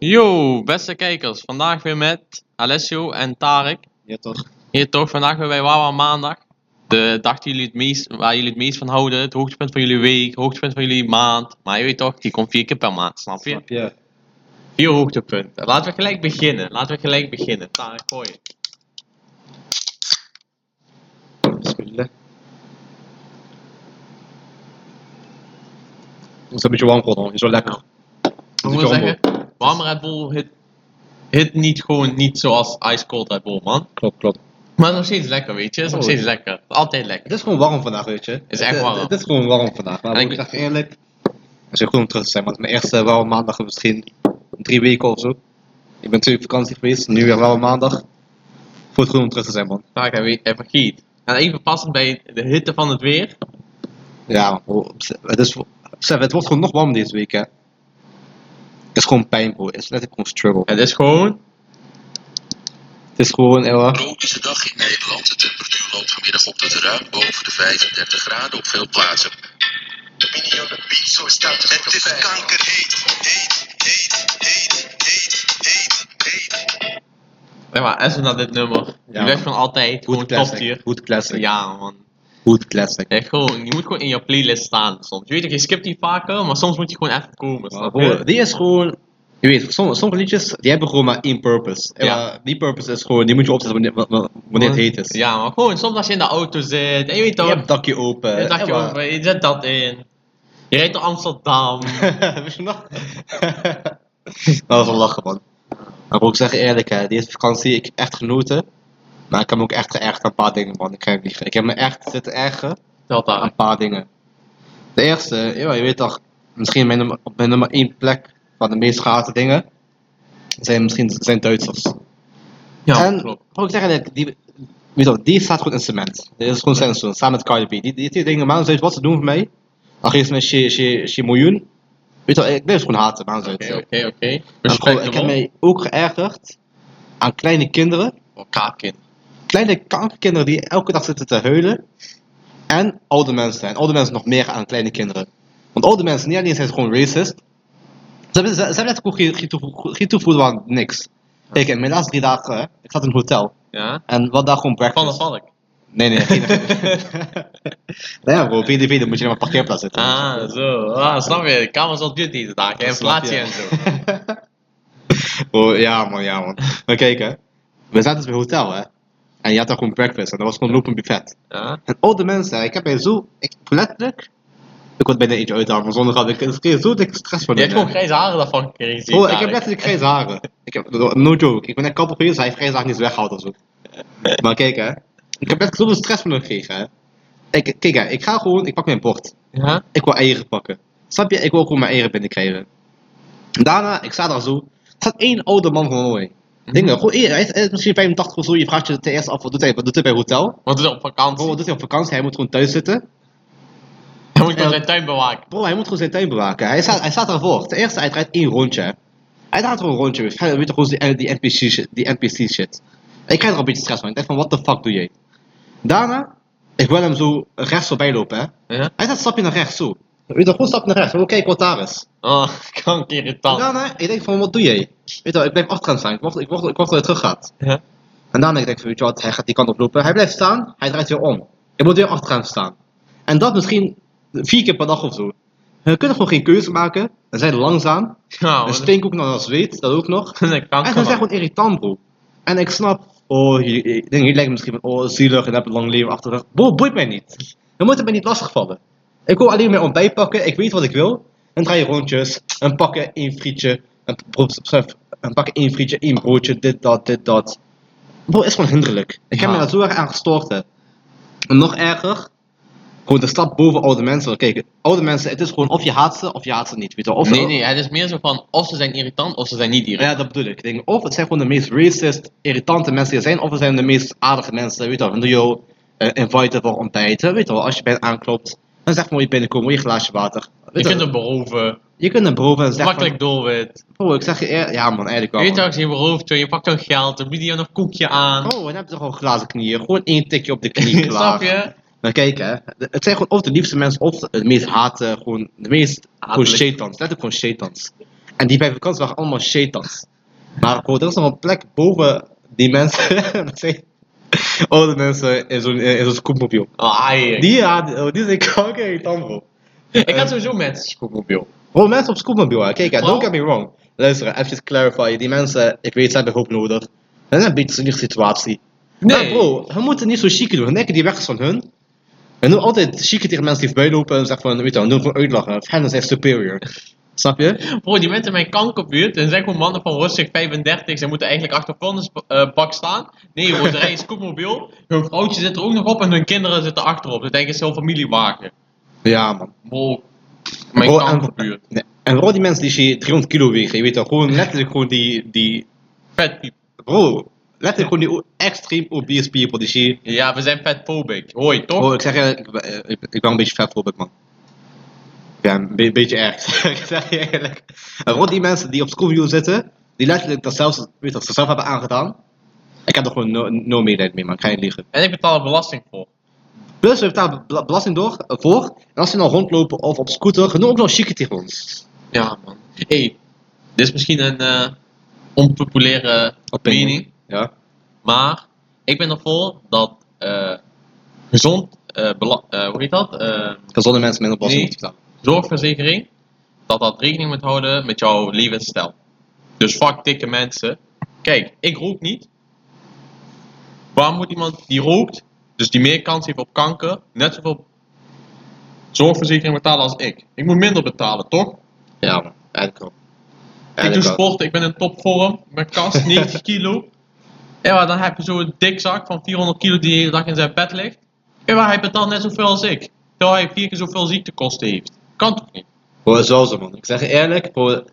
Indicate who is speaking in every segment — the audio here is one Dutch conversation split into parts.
Speaker 1: Yo, beste kijkers. Vandaag weer met Alessio en Tarek.
Speaker 2: Ja, toch?
Speaker 1: Hier toch, vandaag weer bij Wawa Maandag. De dag die jullie het meest, waar jullie het meest van houden. Het hoogtepunt van jullie week, hoogtepunt van jullie maand. Maar je weet toch, die komt vier keer per maand, snap je?
Speaker 2: Snap je?
Speaker 1: Vier hoogtepunten. Laten we gelijk beginnen. Laten we gelijk beginnen. Tarek, gooi.
Speaker 2: Bismillah. Het Moet een beetje warm worden, het is wel lekker.
Speaker 1: Ik moet zeggen, warm Red Bull hit, hit niet gewoon niet zoals Ice Cold Red Bull, man.
Speaker 2: Klopt, klopt.
Speaker 1: Maar het is nog steeds lekker, weet je. Het is nog
Speaker 2: Oh.
Speaker 1: steeds lekker. Altijd lekker.
Speaker 2: Het is gewoon warm vandaag, weet je. Het
Speaker 1: echt
Speaker 2: het-
Speaker 1: warm.
Speaker 2: Het is gewoon warm vandaag. Maar
Speaker 1: En
Speaker 2: ik
Speaker 1: ik-
Speaker 2: dacht eerlijk, het is goed om terug te zijn, want mijn eerste warme maandag in misschien drie weken of zo. Ik ben natuurlijk op vakantie geweest, nu weer warme maandag. Voelt goed om terug te zijn, man.
Speaker 1: Nou, ik heb weer- even giet. En even passend bij de hitte van het weer.
Speaker 2: Ja, man, bro, het, is, besef, het wordt gewoon nog warm deze week, hè. Het is gewoon pijn, bro. Het is letterlijk gewoon struggle.
Speaker 1: Het is gewoon
Speaker 2: Het is gewoon, eeuw.
Speaker 3: tropische dag in Nederland. De temperatuur loopt vanmiddag op tot ruim boven de 35 graden op veel plaatsen. Minimum zo staat het Het is kankerheet, heet, heet, heet, heet, heet, heet.
Speaker 1: Zeg maar, Essen naar dit nummer. die
Speaker 2: man.
Speaker 1: blijft gewoon altijd gewoon
Speaker 2: Hood
Speaker 1: top
Speaker 2: classic.
Speaker 1: tier.
Speaker 2: Hood classic.
Speaker 1: Ja, man.
Speaker 2: Hood classic.
Speaker 1: Echt gewoon, je moet gewoon in je playlist staan soms. Je weet toch, je skipt die vaker, maar soms moet je gewoon even komen.
Speaker 2: Maar
Speaker 1: Snap
Speaker 2: broer,
Speaker 1: je?
Speaker 2: die is gewoon... Je weet, sommige, sommige liedjes, die hebben gewoon maar één purpose. En
Speaker 1: Ja.
Speaker 2: maar die purpose is gewoon, die moet je opzetten wanneer, wa- wa- wanneer het heet is.
Speaker 1: Ja, maar gewoon soms als je in de auto zit. En je weet
Speaker 2: Je
Speaker 1: toch,
Speaker 2: hebt het dakje open.
Speaker 1: je, dacht,
Speaker 2: en eh, maar-
Speaker 1: joh, je zet dat in. Je rijdt door Amsterdam.
Speaker 2: Weet je nog? dat was wel lachen, man. Maar moet ik zeggen eerlijk, hè, deze vakantie, ik heb echt genoten. Maar ik heb me ook echt geërgerd aan een paar dingen, man. Ik ga je niet liegen. Ik heb me echt zitten ergeren
Speaker 1: Dat
Speaker 2: aan
Speaker 1: daar.
Speaker 2: een paar dingen. De eerste, ja, je weet toch, misschien mijn nummer, op mijn nummer één plek van de meest gehate dingen zijn misschien zijn Duitsers.
Speaker 1: Ja,
Speaker 2: en
Speaker 1: klopt.
Speaker 2: moet ik zeggen, dat die, weet je wel, die staat gewoon in cement. Dit is gewoon zijn zoon, samen met Cardi B. Die, die, die dingen, man, wat ze doen voor mij, dan geef ze me she, she, she miljoen. Weet je wel, ik blijf ze gewoon haten, man.
Speaker 1: Oké, oké, oké.
Speaker 2: ik heb mij ook geërgerd aan kleine kinderen
Speaker 1: Oh, Kaapkind.
Speaker 2: kleine kankerkinderen die elke dag zitten te huilen. En oude mensen. En oude mensen nog meer aan kleine kinderen. Want oude mensen, niet alleen zijn ze gewoon racist. Ze hebben, ze, ze hebben letterlijk ook geen- geen toevo- geen toevoeging aan niks. Kijk, in mijn laatste drie dagen, hè, ik zat in een hotel.
Speaker 1: Ja.
Speaker 2: En wat daar gewoon
Speaker 1: Van de
Speaker 2: breakfast.
Speaker 1: Valk.
Speaker 2: Nee, nee, geen. nee, bro, VDV, dan moet je naar een parkeerplaats zitten.
Speaker 1: Ah, zo. Ah, snap je? Kamers op duty deze dagen. Inflatie en zo.
Speaker 2: oh, ja man, ja man. Maar kijk hè, we zaten dus bij een hotel hè. En je had daar gewoon breakfast en dat was gewoon lopend buffet.
Speaker 1: Ja.
Speaker 2: En al de mensen, ik heb mij zo, ik letterlijk, ik word bijna eentje uithouden, maar zonder grap, ik ik kreeg zo dikke stress van
Speaker 1: Je hebt
Speaker 2: hem,
Speaker 1: gewoon
Speaker 2: hè.
Speaker 1: grijze haren daarvan gekregen. zie
Speaker 2: Bro, ik heb
Speaker 1: dadelijk.
Speaker 2: letterlijk grijze haren. Ik heb, no joke, ik ben naar kapper geweest, hij heeft grijze haren niet eens weggehaald of zo. Maar kijk hè, ik heb letterlijk zoveel stress van hem gekregen hè. Ik, kijk hè, ik ga gewoon, ik pak mijn bord.
Speaker 1: Ja?
Speaker 2: Ik wil eieren pakken. Snap je? Ik wil gewoon mijn eieren binnenkrijgen. Daarna, ik sta daar zo. Er staat één oude man van mooi.
Speaker 1: Mhm.
Speaker 2: Dingen, gewoon, één- hij is, hij is misschien 85 of zo. Je vraagt je ten eerste af, wat doet hij, wat doet hij bij hotel?
Speaker 1: Want het is op vakantie.
Speaker 2: Bro, wat doet hij op vakantie? Hij moet gewoon thuis zitten.
Speaker 1: Hij moet gewoon
Speaker 2: Ja.
Speaker 1: zijn tuin bewaken.
Speaker 2: Bro, hij moet gewoon zijn tuin bewaken. Hij staat, hij staat daarvoor. Ten eerste, hij draait één rondje. Hij draait gewoon een rondje. Weet je weet toch, gewoon die, die NPC shit. Die NPC shit. Ik krijg er een beetje stress van. Ik denk van, what the fuck doe jij? Daarna, ik wil hem zo rechts voorbij lopen, hè.
Speaker 1: Ja?
Speaker 2: Hij staat een stapje naar rechts, zo. Weet je, toch, gewoon een stapje naar rechts. Oké, kijken wat daar is.
Speaker 1: Oh, kankerirritant.
Speaker 2: En daarna, ik denk van, wat doe jij? Weet je wel, ik blijf achter hem staan. Ik wacht, ik wacht, ik wacht dat hij terug gaat.
Speaker 1: Ja.
Speaker 2: En daarna denk ik van, weet je wat, hij gaat die kant op lopen. Hij blijft staan, hij draait weer om. Ik moet weer achter hem staan. En dat misschien vier keer per dag of zo. We kunnen gewoon geen keuze maken. We zijn langzaam.
Speaker 1: Ja,
Speaker 2: We
Speaker 1: want
Speaker 2: stinken ook nog als zweet, dat ook nog.
Speaker 1: dat is een
Speaker 2: En ze zijn
Speaker 1: kanker.
Speaker 2: gewoon irritant, bro. En ik snap, oh, je, ik denk, je lijkt misschien van, oh, zielig en heb een lang leven achter de rug. Bro, boeit mij niet. Je moet het mij niet lastigvallen. Ik wil alleen mijn ontbijt pakken, ik weet wat ik wil. En draai je rondjes, en pakken één frietje, en, bro, besef, en pakken één frietje, één broodje, dit, dat, dit, dat. Bro, is gewoon hinderlijk. Ik heb
Speaker 1: Ja.
Speaker 2: me daar zo erg aan gestoord, hè. En nog erger, gewoon de stap boven oude mensen. Kijk, oude mensen, het is gewoon of je haat ze, of je haat ze niet, weet je wel. Of-
Speaker 1: Nee, nee, het is meer zo van of ze zijn irritant of ze zijn niet irritant.
Speaker 2: ja, dat bedoel ik. ik denk, of het zijn gewoon de meest racist, irritante mensen die er zijn, of het zijn de meest aardige mensen. Weet je wel, van yo, eh inviten voor ontbijt. Eh, Weet je wel, als je bij hen aanklopt, dan zegt moet je binnenkomen, moet je een glaasje water.
Speaker 1: Je
Speaker 2: Weet
Speaker 1: kunt
Speaker 2: wel,
Speaker 1: hem beroven.
Speaker 2: je kunt hem beroven en zeggen
Speaker 1: Makkelijk doelwit.
Speaker 2: van, oh, ik zeg je eer- ja man, eigenlijk
Speaker 1: Je
Speaker 2: wel.
Speaker 1: weet
Speaker 2: man.
Speaker 1: toch, als je berooft je, je pakt hun geld, dan bied je een koekje aan.
Speaker 2: Oh, en dan heb je toch gewoon glazen knieën, gewoon één tikje op de knie klaar.
Speaker 1: Snap je?
Speaker 2: Maar kijk hè, de- het zijn gewoon of de liefste mensen, of de meest haten, gewoon de meest, gewoon
Speaker 1: Hatelijk.
Speaker 2: shetans, letterlijk gewoon shetans. En die bij vakantie waren allemaal shaitans. Maar bro, er is nog een plek boven die mensen. dat zijn oude Oh, mensen in zo'n eh, in zo'n scootmobiel.
Speaker 1: Ah, ai,
Speaker 2: Die, ja, die, oh, die zijn kanker irritant, bro.
Speaker 1: ik had sowieso mensen scootmobiel.
Speaker 2: Bro, mensen op scootmobiel, hè. kijk, hè,
Speaker 1: Wow.
Speaker 2: don't get me wrong. Luister, even clarify. Die mensen, ik weet, ze hebben hulp nodig. Dat is een beetje een zinnige situatie. Maar bro, we moeten niet zo chique doen. We denken die weg is van hun. En doen altijd chique tegen mensen die voorbij lopen en zeggen van, weet je wel, doen van uitlachen. Of hen is echt superior. Snap je?
Speaker 1: Bro, die mensen in mijn kankerbuurt, en zijn gewoon mannen van rustig 35, ze moeten eigenlijk achter vuilnisbak staan. Nee, bro, ze rijden scootmobiel, hun vrouwtje zit er ook nog op en hun kinderen zitten achterop. Ze denken, het is heel familiewagen.
Speaker 2: Ja, man.
Speaker 1: Bro, mijn
Speaker 2: Bro, en-
Speaker 1: kankerbuurt.
Speaker 2: Nee, En vooral die mensen die je 300 kilo wegen, je weet wel, gewoon letterlijk gewoon die, die,
Speaker 1: Vet piep.
Speaker 2: bro, letterlijk gewoon die o- extreem obese people die je,
Speaker 1: Ja, we zijn vetphobic. Hoi, toch?
Speaker 2: bro, ik zeg je, ik, ben- eh, ik, ik ben een beetje vetphobic man. Ja, een be- beetje erg, ik zeg je eerlijk. En vooral die mensen die op schoolview zitten, die letterlijk dat zelfs, weet dat, zichzelf hebben aangedaan. Ik heb er gewoon no, no medelijden mee man, ik ga je niet liegen.
Speaker 1: En ik betaal er belasting voor.
Speaker 2: Plus we betalen bela- belasting door, eh, voor, en als ze nou rondlopen of op scooter, genoeg ook nog chique tegen ons.
Speaker 1: Ja, man. hey, dit is misschien een eh, onpopulaire
Speaker 2: Opinion.
Speaker 1: mening,
Speaker 2: Ja.
Speaker 1: maar ik ben ervoor dat eh, gezond, eh, bela- eh, hoe heet dat? Eh,
Speaker 2: Gezonde mensen minder belasting
Speaker 1: Nee.
Speaker 2: moeten betalen.
Speaker 1: zorgverzekering, dat dat rekening moet houden met jouw levensstijl. Dus fuck dikke mensen. Kijk, ik rook niet. Waarom moet iemand die rookt, dus die meer kans heeft op kanker, net zoveel zorgverzekering betalen als ik? Ik moet minder betalen, toch?
Speaker 2: Ja man, eigenlijk wel.
Speaker 1: ik doe
Speaker 2: Eigenlijk wel.
Speaker 1: sport, ik ben in topvorm, mijn kast 90 kilo. En maar dan heb je zo'n dikzak van 400 kilo die de hele dag in zijn bed ligt. En maar hij betaalt net zoveel als ik. Terwijl hij vier keer zoveel ziektekosten heeft. Kan toch niet?
Speaker 2: Bro, zo zo man. Ik zeg je eerlijk, bro,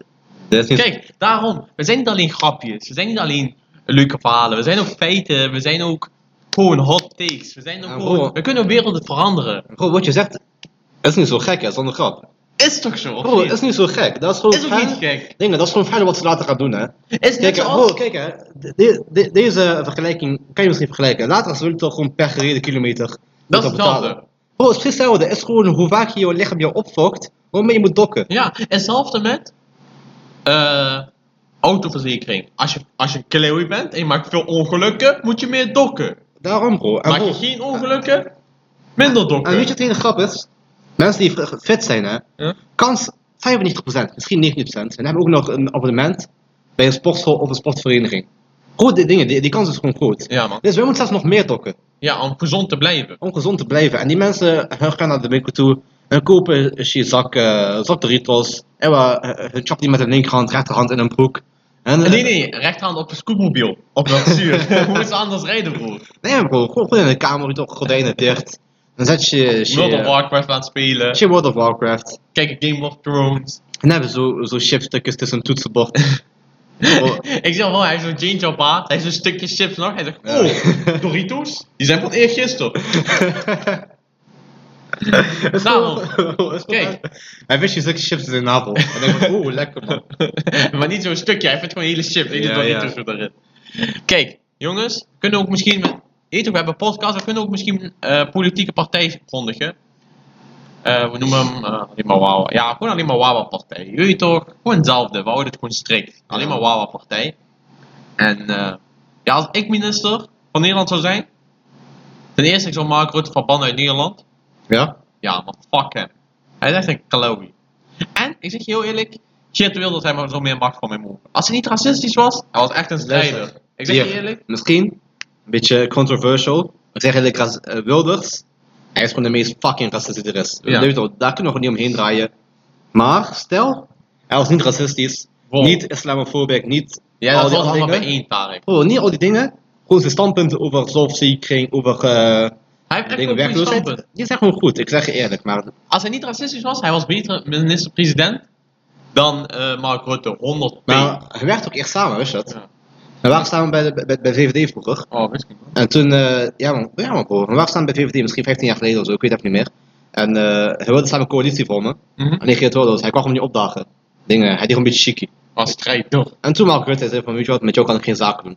Speaker 2: dit is niet...
Speaker 1: Kijk, daarom, we zijn niet alleen grapjes, we zijn niet alleen leuke verhalen, we zijn ook feiten, we zijn ook gewoon hot takes. We, zijn ook
Speaker 2: Ja,
Speaker 1: gewoon,
Speaker 2: bro.
Speaker 1: we kunnen werelden veranderen.
Speaker 2: Bro, wat je zegt, is niet zo gek, hè, zonder grap.
Speaker 1: Is toch zo? of
Speaker 2: Bro,
Speaker 1: niet?
Speaker 2: is niet zo gek. Dat is gewoon
Speaker 1: Is ook
Speaker 2: fijn-
Speaker 1: niet gek.
Speaker 2: Dingen, dat is gewoon verder wat ze later gaan doen, hè.
Speaker 1: is net
Speaker 2: Kijk, hè,
Speaker 1: zoals...
Speaker 2: bro, kijk, hè. de- de- de- deze vergelijking kan je misschien vergelijken. Later zullen we toch gewoon per gereden kilometer
Speaker 1: dat
Speaker 2: moeten
Speaker 1: is hetzelfde.
Speaker 2: betalen. Bro, het is precies hetzelfde. Het is gewoon hoe vaak je je lichaam je opfokt, hoe meer je moet dokken.
Speaker 1: Ja, hetzelfde met eh, autoverzekering. Als je, als je een kleeuw bent en je maakt veel ongelukken, moet je meer dokken.
Speaker 2: Daarom, bro. En,
Speaker 1: Maak
Speaker 2: Ah, bro, Ah,
Speaker 1: je geen ongelukken, minder dokken.
Speaker 2: en weet je wat de hele grap is? Mensen die v- fit zijn, hè.
Speaker 1: Ja.
Speaker 2: kans 95%, misschien 19%. En dan hebben we ook nog een abonnement bij een sportschool of een sportvereniging. Goede dingen, die, die kans is gewoon groot.
Speaker 1: Ja, man.
Speaker 2: Dus wij moeten zelfs nog meer dokken
Speaker 1: Ja, om gezond te blijven.
Speaker 2: om gezond te blijven. En die mensen eh, hun gaan naar de winkel toe en kopen een shit zak, eh, zak Doritos. En we, eh, hun chapt die met hun linkerhand, rechterhand in hun broek. En, eh,
Speaker 1: Nee, nee, rechterhand op de scootmobiel. Op dat zuur. Hoe is het anders rijden, broer?
Speaker 2: nee, bro, gewoon, gewoon in de kamer, toch gordijnen dicht. Dan zet je
Speaker 1: World of
Speaker 2: je,
Speaker 1: Warcraft aan het spelen.
Speaker 2: je World of Warcraft.
Speaker 1: Kijk, Game of Thrones.
Speaker 2: En dan hebben we zo, zo chipstukjes tussen een toetsenbord. Bro,
Speaker 1: Ik zeg wel, hij heeft zo'n jeans op aan. Hij heeft zo'n stukje chips nog. Hij zegt,
Speaker 2: Ja.
Speaker 1: oh, Doritos? Die zijn van eergisteren. Nou, Kijk.
Speaker 2: Hij wist je zulke chips in zijn navel. En denk van, oeh, lekker man.
Speaker 1: maar niet zo'n stukje, hij vindt gewoon hele chips. Hele
Speaker 2: Ja,
Speaker 1: Doritos erin. Kijk, jongens, we kunnen ook misschien. met- Weet je, we hebben een podcast, we kunnen ook misschien eh, politieke partij verkondigen. Eh, we noemen hem eh, alleen maar Wawa. Ja, gewoon alleen maar Wawa-partij. Jullie toch? Gewoon hetzelfde, we houden het gewoon strikt. Alleen maar Wawa-partij. En eh, ja, als ik minister van Nederland zou zijn. Ten eerste, ik zou Mark Rutte verbannen uit Nederland.
Speaker 2: Ja?
Speaker 1: Ja, maar fuck hem. Hij is echt een klauwie. En, ik zeg je heel eerlijk, shit wil dat hij maar zo meer macht van mij moet. Als hij niet racistisch was, hij was echt een strijder.
Speaker 2: Luister.
Speaker 1: Ik zeg je
Speaker 2: Hier,
Speaker 1: eerlijk.
Speaker 2: Misschien, een beetje controversial. Ik zeg eigenlijk, ras- eh, Wilders, hij is gewoon de meest fucking racist die er is.
Speaker 1: Ja.
Speaker 2: Dat weet je wel, daar kunnen we gewoon niet omheen draaien. Maar, stel, hij was niet racistisch,
Speaker 1: Wow.
Speaker 2: niet islamofobisch, niet
Speaker 1: Ja, dat
Speaker 2: al die
Speaker 1: was allemaal
Speaker 2: andere
Speaker 1: bij
Speaker 2: dingen.
Speaker 1: één Tarek.
Speaker 2: Bro, niet al die dingen. Gewoon zijn standpunten over zelfverzekering, over eh,
Speaker 1: Hij heeft echt
Speaker 2: dingen
Speaker 1: een goed standpunt.
Speaker 2: werkloosheid. Die zijn gewoon goed, ik zeg je eerlijk. Maar
Speaker 1: Als hij niet racistisch was, hij was beter minister-president dan eh, Mark Rutte. 100
Speaker 2: Maar hij werkte ook echt samen, wist je dat?
Speaker 1: Ja.
Speaker 2: We waren samen bij, de, bij, bij VVD vroeger.
Speaker 1: Oh, wist ik niet.
Speaker 2: En toen, eh, ja man, ja man bro, we waren samen bij VVD, misschien 15 jaar geleden of zo, ik weet het even niet meer. En eh, hij wilde samen een coalitie vormen.
Speaker 1: Mhm.
Speaker 2: En nee, Geert Wilders, hij kwam hem niet opdagen. Dingen, hij deed gewoon een beetje chicky.
Speaker 1: Was strijder.
Speaker 2: En toen Mark Rutte zei van, weet je wat, met jou kan ik geen zaken doen.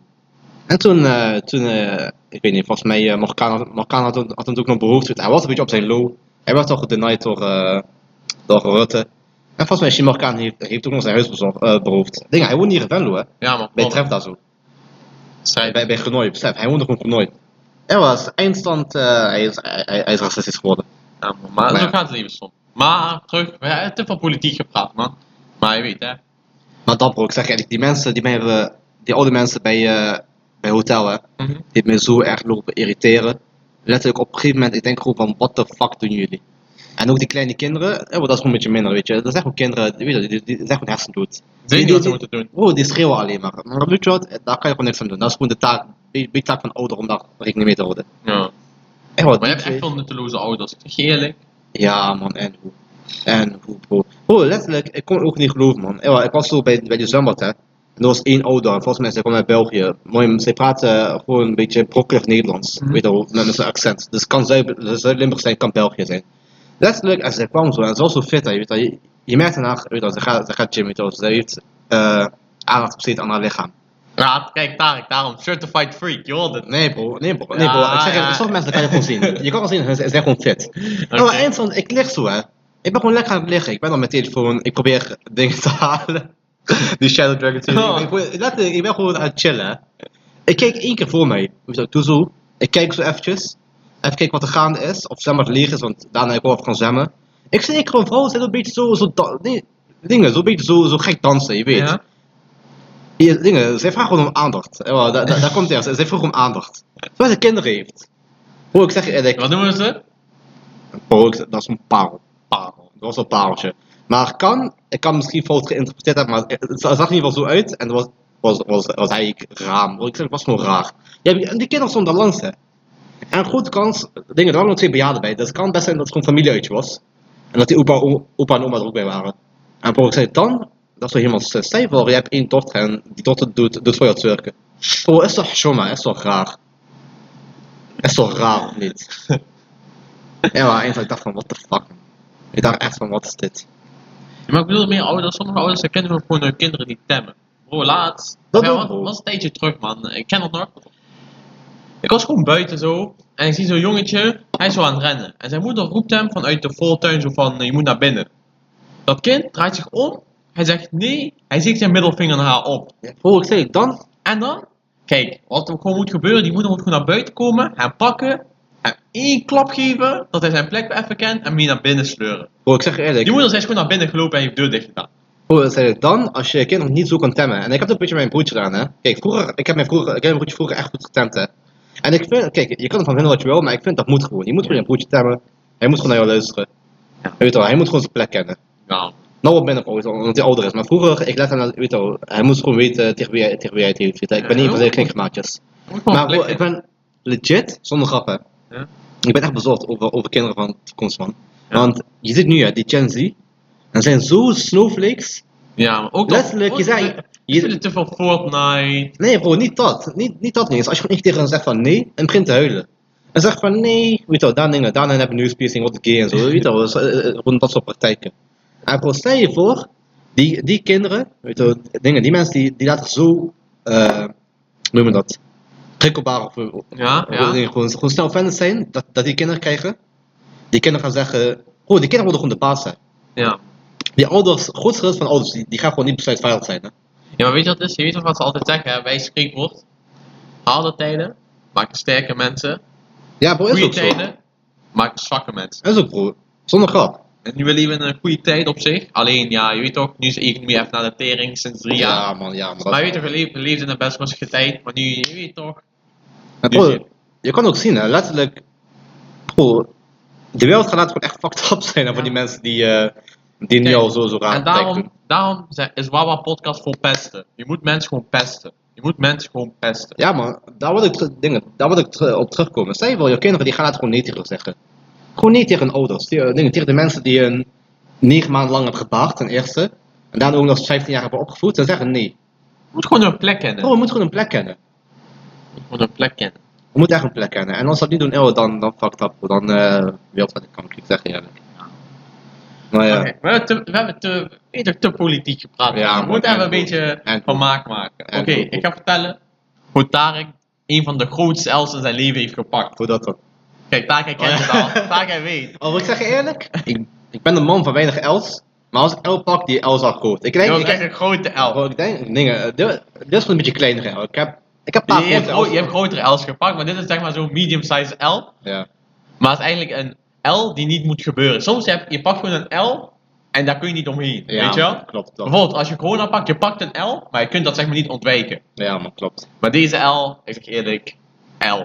Speaker 2: En toen, eh, toen eh, ik weet niet, volgens mij, eh, Marokkaan had, Marokkaan had, hem- had hem ook nog behoefte. Hij was een beetje op zijn low. Hij werd al gedenied door, eh, door Rutte. En volgens mij, is die Marokkaan heeft, heeft ook nog zijn huis bezorgd, eh, beroofd. Ding, hij woont hier in Venlo, hè?
Speaker 1: Ja, man.
Speaker 2: Bij
Speaker 1: klopt.
Speaker 2: Tref daar zo.
Speaker 1: Zij-
Speaker 2: Bij, bij Genooi, besef. Hij woonde gewoon Genooi. Er was eindstand, eh, hij, is, hij, hij is racistisch geworden.
Speaker 1: Ja, man, maar
Speaker 2: Maar
Speaker 1: zo
Speaker 2: ja.
Speaker 1: gaat het leven soms. Maar terug, we hebben te veel politiek gepraat, man. Maar je weet, hè. Mhm.
Speaker 2: Maar dat bro, ik zeg eigenlijk, die mensen, die, mij hebben, die oude mensen bij, eh, bij hotel, hè,
Speaker 1: Mhm.
Speaker 2: die hebben mij zo erg lopen irriteren. Letterlijk op een gegeven moment, ik denk gewoon van, what the fuck doen jullie? En ook die kleine kinderen, eh, dat is gewoon een beetje minder, weet je. Dat zijn gewoon kinderen, weet je, die, die, die zijn gewoon hersendood.
Speaker 1: Ik weet
Speaker 2: Die-
Speaker 1: niet wat ze
Speaker 2: die-
Speaker 1: moeten doen.
Speaker 2: Bro, die schreeuwen alleen maar. Maar weet je wat, daar kan je gewoon niks aan doen. Dat is gewoon de taak, de de taak van ouder om daar rekening mee te houden.
Speaker 1: Ja.
Speaker 2: Echt wat,
Speaker 1: Maar je hebt echt veel nutteloze ouders, ik zeg je eerlijk.
Speaker 2: Ja, man, en hoe? En hoe, bro? Bro, letterlijk, ik kon het ook niet geloven, man. Ja, ik was zo bij, bij die zwembad, hè. En er was één ouder, en volgens mij, zij kwam uit België. Mooi, zij praatte gewoon een beetje brokkelig Nederlands.
Speaker 1: Mhm.
Speaker 2: Weet je wel, met, met zijn accent. Dus kan Zuid- Zuid-Limburg zijn, kan België zijn. Letterlijk, en zij kwam zo, en ze was zo fit, hè. Je, weet wel, je, je merkt aan haar, weet je wel, ze gaat, ze gaat gym, weet je wel. Ze heeft eh aandacht besteed aan haar lichaam.
Speaker 1: Ja, kijk, Tarek, daarom. Certified freak, je hoort het.
Speaker 2: Nee, bro, nee, bro, nee, bro.
Speaker 1: Ja,
Speaker 2: ik zeg,
Speaker 1: ja.
Speaker 2: je, sommige mensen kan je gewoon zien. Je kan wel zien, ze ze zijn gewoon fit.
Speaker 1: Oké.
Speaker 2: Nou, maar eind van, ik lig zo hè. Ik ben gewoon lekker aan het liggen. Ik ben op mijn telefoon. Ik probeer dingen te halen. Die Shadow Dragon 2.
Speaker 1: Oh.
Speaker 2: Ik, probeer- letterlijk, ik ben gewoon aan het chillen. hè. Ik kijk één keer voor mij. Dus ik doe zo. Ik kijk zo eventjes. Even kijken wat er gaande is. Of zwembad leeg is, want daarna ik wel af kan zwemmen. Ik zie ik gewoon vrouw, ze doet een beetje zo, zo dan- nee, dingen, zo'n beetje zo, zo gek dansen, je weet.
Speaker 1: Ja?
Speaker 2: Hier, dingen, zij vragen gewoon om aandacht. Ja, wel, daar, daar, daar komt het eerst. Zij vroegen om aandacht. Zoals ze kinderen heeft. Bro, ik zeg je eerlijk,
Speaker 1: Wat noemen ze?
Speaker 2: Bro, ik- dat is een parel. Parel. Dat was een pareltje. Maar kan, ik kan misschien fout geïnterpreteerd hebben, maar het zag er in ieder geval zo uit. En het was, was, was, was eigenlijk raar. Bro. Ik zeg, het was gewoon raar. Ja, en die kinderen stonden daar langs, hè. En goed kans, dingen, er waren nog twee bejaarden bij. Dus het kan best zijn dat het gewoon familieuitje was. En dat die opa, o- opa en oma er ook bij waren. En bro, ik zei, dan, dat is wel helemaal st- stijf, hoor. Je hebt één dochter en die dochter doet, doet voor jou het werken. Bro, is toch shoma, is toch raar. Is toch raar of niet? Ja, maar eens dat ik dacht van, what the fuck. Ik dacht echt van, wat is dit?
Speaker 1: Ja, maar ik bedoel meer ouders, sommige ouders herkennen ook gewoon hun kinderen die temmen. Bro, laatst.
Speaker 2: Dat
Speaker 1: ja,
Speaker 2: ook,
Speaker 1: was,
Speaker 2: bro.
Speaker 1: was een tijdje terug, man. Ik ken dat nog. Ik was gewoon buiten zo. En ik zie zo'n jongetje. Hij is zo aan het rennen. En zijn moeder roept hem vanuit de voortuin zo van, je moet naar binnen. Dat kind draait zich om. Hij zegt nee. Hij steekt zijn middelvinger naar haar op.
Speaker 2: Bro, Oh, ik zei, dan?
Speaker 1: En dan? Kijk, wat er gewoon moet gebeuren. Die moeder moet gewoon naar buiten komen. Hem pakken. Hem één klap geven. Dat hij zijn plek even kent. En hem hier naar binnen sleuren.
Speaker 2: Bro, Oh, ik zeg je eerlijk.
Speaker 1: Die moeder is gewoon naar binnen gelopen en heeft de deur dicht gedaan.
Speaker 2: Bro, ik zei, dan als je je kind nog niet zo kan temmen. En ik heb het een beetje met mijn broertje gedaan, hè. Kijk, vroeger, ik heb mijn, vroeger, ik heb mijn broertje vroeger echt goed getemd, hè. En ik vind, kijk, je kan van vinden wat je wil, maar ik vind dat moet gewoon. Je moet gewoon je broertje temmen. Hij moet gewoon naar jou luisteren.
Speaker 1: Ja.
Speaker 2: Weet je wel, hij moet gewoon zijn plek kennen.
Speaker 1: Nou,
Speaker 2: Nou wat minder, bro, weet je wel, omdat hij ouder is. Maar vroeger, ik let hem, weet je wel, hij moest gewoon weten tegen wie, hij- tegen wie hij het heeft. weet je wel. Ik ben niet van zijn knikkermaatjes.
Speaker 1: moet gewoon
Speaker 2: Maar bro,
Speaker 1: flikken.
Speaker 2: ik ben legit, zonder grap hè.
Speaker 1: Ja.
Speaker 2: Ik ben echt bezorgd over, over kinderen van de toekomst man.
Speaker 1: Ja.
Speaker 2: Want je ziet nu hè, die Gen Z. En zijn zo snowflakes.
Speaker 1: Ja, maar ook
Speaker 2: Letterlijk, je zei-
Speaker 1: Je vindt het te veel Fortnite.
Speaker 2: Nee bro, niet dat. Niet, niet dat niet eens. Als je gewoon echt tegen hen zegt van nee, en begint te huilen. En zegt van nee, weet je wel, daar dingen, daarna hebben neuspiercing, wat gay en zo, weet je wel. zo, eh, eh, Gewoon dat soort praktijken. En bro, stel je voor, die, die kinderen, weet je wel, dingen, die mensen die, die laten zo, eh noem je dat, prikkelbaar of,
Speaker 1: Ja,
Speaker 2: Ja?
Speaker 1: ja.
Speaker 2: Dingen gewoon, gewoon snel fans zijn, dat, dat die kinderen krijgen. Die kinderen gaan zeggen, oh, die kinderen worden gewoon de baas zijn.
Speaker 1: Ja.
Speaker 2: Die ouders, groot gedeelte van ouders, die, die gaan gewoon niet besluitvaardig zijn. Hè?
Speaker 1: ja, maar weet je wat het is? Je weet toch wat ze altijd zeggen, hè? wij spreekwoord. Harde tijden maken sterke mensen.
Speaker 2: Ja, bro, is
Speaker 1: Goede
Speaker 2: ook zo.
Speaker 1: tijden maken zwakke mensen.
Speaker 2: Is ook, bro. Zonder grap.
Speaker 1: En nu leven we in een goede tijd op zich. Alleen, ja, je weet toch, nu is de economie even naar de tering sinds drie jaar.
Speaker 2: man, ja, man. dat-
Speaker 1: Maar je weet toch, we leven, we leefden in een best rustige tijd. Maar nu, je weet toch.
Speaker 2: Maar
Speaker 1: nu
Speaker 2: bro,
Speaker 1: zie je-
Speaker 2: je kan ook zien, hè, letterlijk. Bro, de wereld gaat later gewoon echt fucked up zijn hè, voor die mensen die, eh, die nu
Speaker 1: Kijk,
Speaker 2: al zo, zo raar
Speaker 1: en
Speaker 2: praktijk
Speaker 1: daarom,
Speaker 2: doen.
Speaker 1: daarom zijn- is Wawa Podcast voor pesten. Je moet mensen gewoon pesten. Je moet mensen gewoon pesten.
Speaker 2: Ja, man, daar wil ik, ter- dingen, daar wil ik ter- op terugkomen. Stel je wel, je kinderen die gaan het gewoon nee tegen zeggen. Gewoon nee tegen hun ouders. Die, eh, dingen, tegen de mensen die een negen maanden lang hebben gebaard, ten eerste. En daarna ook nog eens 15 jaar hebben opgevoed. En zeggen nee.
Speaker 1: Je moet gewoon een plek kennen.
Speaker 2: Bro, we moeten gewoon een plek kennen.
Speaker 1: Je moet gewoon een plek kennen.
Speaker 2: We moeten echt een plek kennen. En als we dat niet doen, oh, dan, dan fucked up. bro. Dan eh wereld van de kanker, ik zeg je eerlijk. Maar ja,
Speaker 1: Oké, We hebben, te, we hebben te, weet je, te politiek gepraat.
Speaker 2: Ja,
Speaker 1: we
Speaker 2: man,
Speaker 1: moeten
Speaker 2: en
Speaker 1: even een
Speaker 2: goed.
Speaker 1: beetje
Speaker 2: En goed.
Speaker 1: van maak maken. Oké,
Speaker 2: En goed,
Speaker 1: ik
Speaker 2: goed.
Speaker 1: ga vertellen hoe Tarek een van de grootste L's in zijn leven heeft gepakt.
Speaker 2: hoe dat dan.
Speaker 1: Kijk, Tarek hij kent
Speaker 2: Oh,
Speaker 1: het
Speaker 2: ja.
Speaker 1: al. Tarek hij weet.
Speaker 2: Oh, ik zeg je eerlijk, ik, ik ben een man van weinig els. Maar als L pak die L zag goed. Ik denk,
Speaker 1: Jongens,
Speaker 2: ik,
Speaker 1: echt
Speaker 2: heb,
Speaker 1: een grote L.
Speaker 2: ik denk, dingen, eh, dit, dit is een beetje kleiner L. Ik heb, ik heb een
Speaker 1: Je
Speaker 2: paar
Speaker 1: hebt,
Speaker 2: grote
Speaker 1: gro-
Speaker 2: L's.
Speaker 1: je hebt grotere L's gepakt, maar dit is zeg maar zo'n medium size L.
Speaker 2: Ja.
Speaker 1: Maar het is eigenlijk een L die niet moet gebeuren. Soms heb je pakt gewoon een L en daar kun je niet omheen.
Speaker 2: Ja,
Speaker 1: weet je wel?
Speaker 2: Klopt. Dat.
Speaker 1: Bijvoorbeeld, als je corona pakt, je pakt een L, maar je kunt dat zeg maar niet ontwijken.
Speaker 2: Ja, maar klopt.
Speaker 1: Maar deze L, ik zeg eerlijk, L.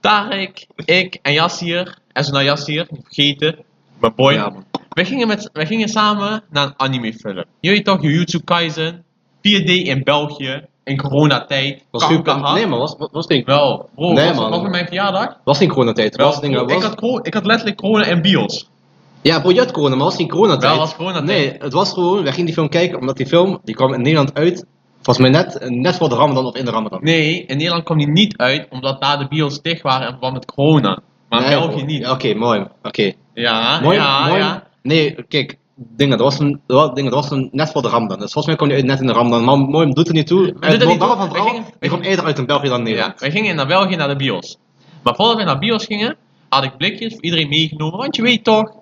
Speaker 1: Tarek, ik en Yassir, en zo naar Yassir, niet vergeten, mijn boy.
Speaker 2: Ja, man.
Speaker 1: we, gingen met, we gingen samen naar een animefilm. Jullie toch, Jujutsu Kaisen, 4D in België, in coronatijd.
Speaker 2: Was geen-
Speaker 1: kanker gehad.
Speaker 2: nee, maar was, was, was geen,
Speaker 1: Wel, bro,
Speaker 2: Nee,
Speaker 1: was,
Speaker 2: man.
Speaker 1: was het mijn verjaardag?
Speaker 2: was geen coronatijd.
Speaker 1: Wel,
Speaker 2: Was, dingen,
Speaker 1: bro,
Speaker 2: was,
Speaker 1: ik, had, coro- ik had letterlijk corona en bios.
Speaker 2: Ja, bro, je had corona, maar was geen coronatijd.
Speaker 1: Wel, was coronatijd.
Speaker 2: Nee, het was gewoon, wij gingen die film kijken, omdat die film, die kwam in Nederland uit, volgens mij net, net voor de ramadan of in de ramadan.
Speaker 1: Nee, in Nederland kwam die niet uit, omdat daar de bios dicht waren in verband met corona. Maar in
Speaker 2: Nee,
Speaker 1: België
Speaker 2: bro.
Speaker 1: niet.
Speaker 2: Ja, Oké, mooi. Oké.
Speaker 1: Ja,
Speaker 2: Mooi,
Speaker 1: Ah, ja,
Speaker 2: mooi.
Speaker 1: ja.
Speaker 2: Nee, kijk, dingen, dat was, een, dat was- dingen, dat was een, net voor de ramadan. Dus volgens mij kwam die uit net in de ramadan, maar mooi, doet er niet toe.
Speaker 1: doet er
Speaker 2: Het
Speaker 1: niet toe.
Speaker 2: moraal van het
Speaker 1: Wij
Speaker 2: verhaal,
Speaker 1: gingen-
Speaker 2: die kwam eerder uit in België dan in
Speaker 1: Ja,
Speaker 2: Nederland.
Speaker 1: wij gingen naar België naar de bios. Maar voordat we naar bios gingen, had ik blikjes voor iedereen meegenomen. Want je weet toch,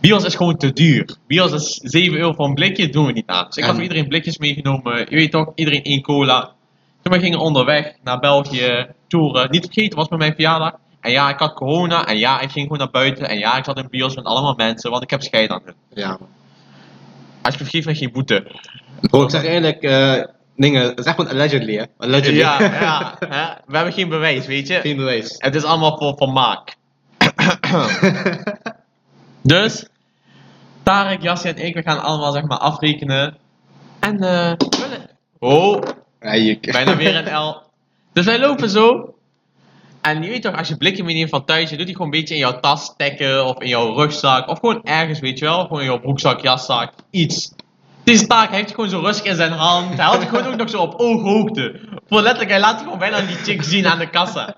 Speaker 1: bios is gewoon te duur. Bios is 7 euro voor een blikje, doen we niet aan. Dus ik had
Speaker 2: En-
Speaker 1: voor iedereen blikjes meegenomen. Je weet toch, iedereen één cola. Toen we gingen onderweg naar België toeren. Niet vergeten, was bij mijn verjaardag. En ja, ik had corona. En ja, ik ging gewoon naar buiten. En ja, ik zat in bios met allemaal mensen, want ik heb scheid aan hun.
Speaker 2: Ja.
Speaker 1: Als je vergeeft, krijg je boete.
Speaker 2: Bro, ik zeg eerlijk, eh, dingen, zeg maar allegedly, hè. Allegedly.
Speaker 1: Ja, ja. Hè? We hebben geen bewijs, weet je.
Speaker 2: geen bewijs.
Speaker 1: Het is allemaal voor vermaak. dus, Tarek, Jasje en ik, we gaan allemaal zeg maar afrekenen. En, eh. we- Oh,
Speaker 2: Ja, je-
Speaker 1: bijna weer een L. Dus wij lopen zo. En je weet toch, als je blikken meeneemt van thuis, je doet die gewoon een beetje in jouw tas stekken of in jouw rugzak. Of gewoon ergens, weet je wel. Gewoon in jouw broekzak, jaszak, iets. Deze taak heeft gewoon zo rustig in zijn hand. Hij had het gewoon ook nog zo op ooghoogte. Voor letterlijk, hij laat het gewoon bijna die chick zien aan de kassa.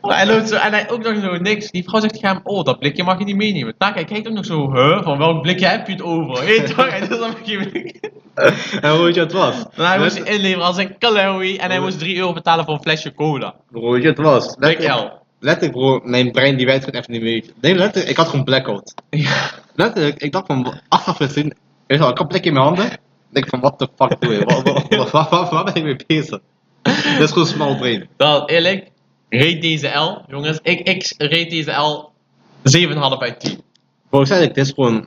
Speaker 1: Maar Hij loopt zo, en hij ook nog zo niks. Die vrouw zegt tegen hem, oh, dat blikje mag je niet meenemen. Taak, hij kijkt ook nog zo, huh, van welk blikje heb je het over? Hé, toch? En dat is allemaal geen blik.
Speaker 2: En hoe weet je wat het was?
Speaker 1: En hij moest
Speaker 2: Let-
Speaker 1: die inleveren als een calorie
Speaker 2: Oh.
Speaker 1: en hij moest 3 euro betalen voor een flesje cola.
Speaker 2: Bro, weet je wat het was?
Speaker 1: Blik
Speaker 2: Letterlijk-
Speaker 1: L.
Speaker 2: Letterlijk, bro, mijn brein die werkt gewoon even niet meer. Nee, letterlijk, ik had gewoon blackout.
Speaker 1: Ja.
Speaker 2: Letterlijk, ik dacht van, achteraf gezien, weet je wel, ik had plek in mijn handen. Ik denk van, what the fuck doe je? Waar, waar, waar, waar- waar- waar ben ik mee bezig? Dat is gewoon small brain.
Speaker 1: Dan eerlijk, reed deze L, jongens. Ik, ik reed deze L 7,5 uit 10.
Speaker 2: Bro, ik zei het, dit is gewoon... weet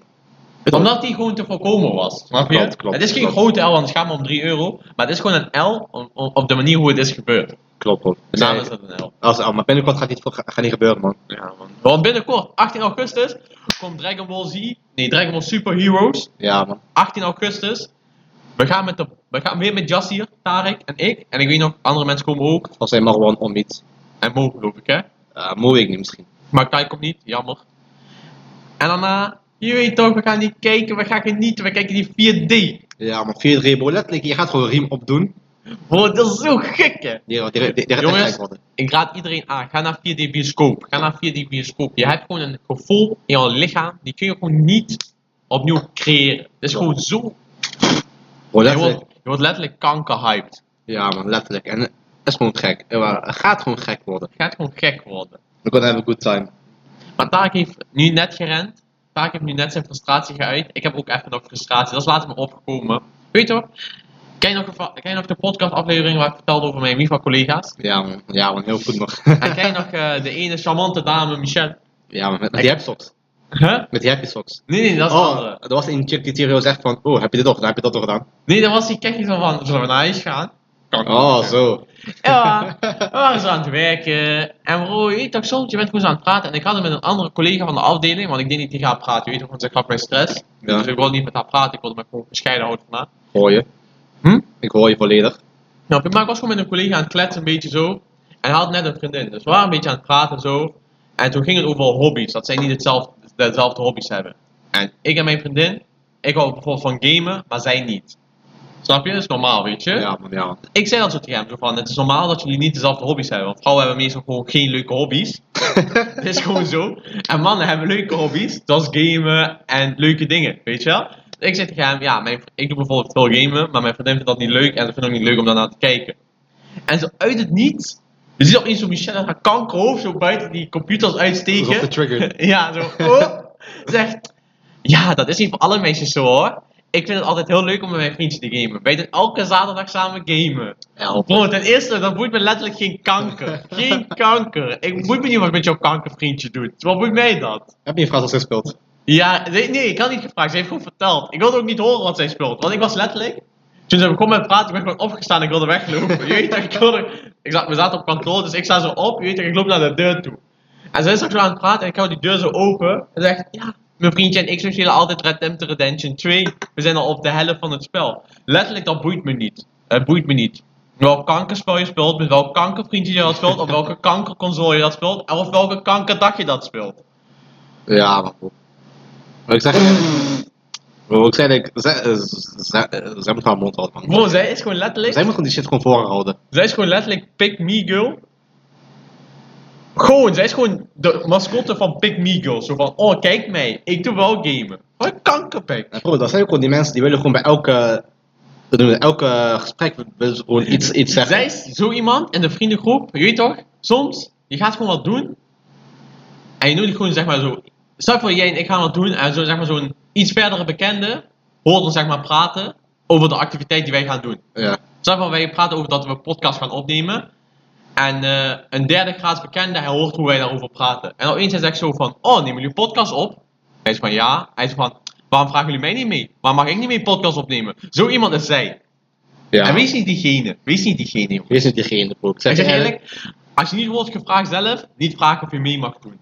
Speaker 2: je wel,
Speaker 1: Omdat die gewoon te voorkomen was. Snap je?
Speaker 2: Klopt, klopt,
Speaker 1: het is geen
Speaker 2: klopt.
Speaker 1: grote L, want het gaat maar om 3 euro. Maar het is gewoon een L om- om- op de manier hoe het is gebeurd.
Speaker 2: Klopt, bro.
Speaker 1: Dus daarom is het een L.
Speaker 2: Als, ah, maar binnenkort gaat niet, gaat niet gebeuren, man.
Speaker 1: Ja, man. Want binnenkort, 18 augustus, komt Dragon Ball Z. Nee, Dragon Ball Super Heroes.
Speaker 2: Ja, man.
Speaker 1: 18 augustus. We gaan, met de, we gaan weer met Jassir, Tarek en ik. En ik weet nog, andere mensen komen ook.
Speaker 2: Als hij maar gewoon ombiet.
Speaker 1: En Mo geloof ik, hè.
Speaker 2: Uh, mooi ik niet misschien.
Speaker 1: Maar Kai komt niet, jammer. En daarna, je weet toch, we gaan die kijken, we gaan genieten, we kijken die 4D.
Speaker 2: Ja, man. 4-3, bro. Letterlijk, je gaat gewoon riem opdoen.
Speaker 1: Wow, dat is zo gek, hè.
Speaker 2: Die, die, die, die gaat echt
Speaker 1: Jongens.
Speaker 2: gek worden.
Speaker 1: Ik raad iedereen aan, ga naar 4D bioscoop. Ga naar 4D bioscoop. Je hebt gewoon een gevoel in jouw lichaam, die kun je gewoon niet opnieuw creëren. Het is gewoon zo...
Speaker 2: Bro,
Speaker 1: Je
Speaker 2: letterlijk.
Speaker 1: wordt, je wordt letterlijk kankerhyped.
Speaker 2: Ja, man. Letterlijk. En het is gewoon gek. Eh, maar Het gaat gewoon gek worden.
Speaker 1: Het gaat gewoon gek worden.
Speaker 2: We're gonna have a good time.
Speaker 1: Maar Taak heeft nu net gerend. Taak heeft nu net zijn frustratie geuit. Ik heb ook even nog frustratie. Dat is later me opgekomen. Weet je wat? Ken je nog, een va- ken je nog de podcastaflevering waar ik vertelde over mijn MIFA-collega's?
Speaker 2: Ja, man. Ja, man. Heel goed nog.
Speaker 1: En ken je nog eh, de ene charmante dame, Michelle?
Speaker 2: ja, man. Met die happy socks.
Speaker 1: Huh?
Speaker 2: Met die happy socks.
Speaker 1: Nee, nee, dat is de
Speaker 2: Oh,
Speaker 1: andere.
Speaker 2: er was een chick die Tyrio zegt van, oh, heb je dit toch gedaan? Heb je dat toch gedaan?
Speaker 1: Nee, dat was die kekje zo van, zullen we naar huis gaan?
Speaker 2: Oh, zo.
Speaker 1: Ja, we waren zo aan het werken. En bro, je weet toch soms, je bent gewoon zo aan het praten. En ik had het met een andere collega van de afdeling, want ik deed niet die gaat praten. Je weet toch, want ze gaf mij stress.
Speaker 2: Ja.
Speaker 1: Dus ik wilde niet met haar praten, ik wilde me gewoon gescheiden houden van haar.
Speaker 2: Hoor je?
Speaker 1: Hm?
Speaker 2: Ik hoor je volledig.
Speaker 1: Nou, maar ik was gewoon met een collega aan het kletsen, een beetje zo. En hij had net een vriendin, dus we waren een beetje aan het praten zo. En toen ging het over hobby's, dat zij niet hetzelfde, dezelfde hobby's hebben. En ik en mijn vriendin, ik hou bijvoorbeeld van gamen, maar zij niet. Snap je? Dat is normaal, weet je?
Speaker 2: Ja, man, ja. man.
Speaker 1: Ik zei dat zo tegen hem, zo van, het is normaal dat jullie niet dezelfde hobby's hebben. Want vrouwen hebben meestal gewoon geen leuke hobby's. Het is gewoon zo. En mannen hebben leuke hobby's, dat is gamen en leuke dingen, weet je wel? Dus ik zeg tegen hem, ja, mijn, ik doe bijvoorbeeld veel gamen, maar mijn vriendin vindt dat niet leuk en ze vindt ook niet leuk om daarna te kijken. En zo uit het niets, je ziet opeens zo Michelle haar kankerhoofd zo buiten die computers
Speaker 2: Alsof
Speaker 1: uitsteken.
Speaker 2: de trigger.
Speaker 1: ja, zo, oh, zegt, Ja, dat is niet voor alle mensen zo hoor. Ik vind het altijd heel leuk om met mijn vriendjes te gamen. Wij doen elke zaterdag samen gamen.
Speaker 2: Help.
Speaker 1: Bro, Oh, ten eerste, dat boeit me letterlijk geen kanker. Geen kanker. Ik moet me niet wat met jouw kankervriendje doet. Wat boeit mij dat?
Speaker 2: Heb je een vraag als ze speelt?
Speaker 1: Ja, nee, nee, ik had niet gevraagd. Ze heeft gewoon verteld. Ik wilde ook niet horen wat zij speelt. Want ik was letterlijk... Toen ze begon met praten, ben ik gewoon opgestaan en ik wilde weglopen. Je weet toch, ik wilde... Ik zat, we zaten op kantoor, dus ik sta zo op. Je weet toch, ik loop naar de deur toe. En zij is ook zo aan het praten en ik hou die deur zo open. En zegt, ja, mijn vriendje en ik spelen altijd Red Dead Redemption 2. We zijn al op de helft van het spel. Letterlijk, dat boeit me niet. Het boeit me niet. Welk kankerspel je speelt, met welk kankervriendje je dat speelt, of welke kankerconsole je dat speelt, of welke kankerdag je dat speelt.
Speaker 2: Ja, maar goed. Maar ik zeg...
Speaker 1: Mm.
Speaker 2: Bro, ik zei dat ik... Zij, eh, zij, eh, zij moet haar mond houden, man.
Speaker 1: Bro, zij is gewoon letterlijk...
Speaker 2: Zij moet gewoon die shit gewoon voor haar houden.
Speaker 1: Zij is gewoon letterlijk Pick Me Girl. Gewoon, zij is gewoon de mascotte van Pick Me Girl. Zo van, oh kijk mij, ik doe wel gamen. Wat een kankerpik.
Speaker 2: En bro, dat zijn ook gewoon die mensen die willen gewoon bij elke... we doen het, elke gesprek willen ze gewoon iets, iets zeggen.
Speaker 1: Zij is zo iemand in de vriendengroep, je weet toch? Soms, je gaat gewoon wat doen. En je nodigt gewoon zeg maar zo... Stel voor jij en ik gaan wat doen en zo zeg maar zo'n iets verdere bekende hoort ons zeg maar praten over de activiteit die wij gaan doen.
Speaker 2: Ja.
Speaker 1: Zeg maar, wij praten over dat we een podcast gaan opnemen. En eh, een derde graads bekende, hij hoort hoe wij daarover praten. En opeens hij zegt zo van, oh, nemen jullie podcast op? Hij is van, ja. Hij is van, waarom vragen jullie mij niet mee? Waarom mag ik niet mee podcast opnemen? Zo iemand is zij.
Speaker 2: ja.
Speaker 1: En wees niet diegene. Wees niet diegene, jongen.
Speaker 2: Wees niet diegene, bro. Ik
Speaker 1: Ik
Speaker 2: zeg
Speaker 1: zeg
Speaker 2: je
Speaker 1: eerlijk, als je niet wordt gevraagd zelf, niet vragen of je mee mag doen.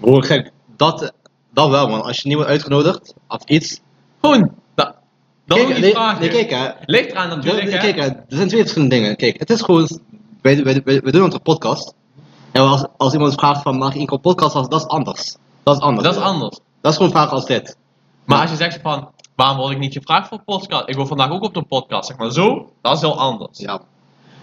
Speaker 2: Bro, ik zeg... Dat, dat wel, man. Als je niet wordt uitgenodigd, of iets...
Speaker 1: Gewoon, dat, dat
Speaker 2: Kijk,
Speaker 1: moet je
Speaker 2: nee,
Speaker 1: niet vragen.
Speaker 2: nee, kijk, hè.
Speaker 1: Ligt eraan natuurlijk,
Speaker 2: Ja,
Speaker 1: hè.
Speaker 2: Kijk, hè, er zijn twee verschillende dingen. Kijk, het is gewoon, wij, wij, wij, wij doen onze podcast. En als, als iemand vraagt van, mag ik een podcast als, dat is anders. Dat is anders.
Speaker 1: Dat is anders.
Speaker 2: Dat is gewoon vragen als dit.
Speaker 1: Maar als je zegt van, waarom word ik niet gevraagd voor podcast? Ik wil vandaag ook op de podcast, zeg maar zo. Dat is heel anders.
Speaker 2: Ja.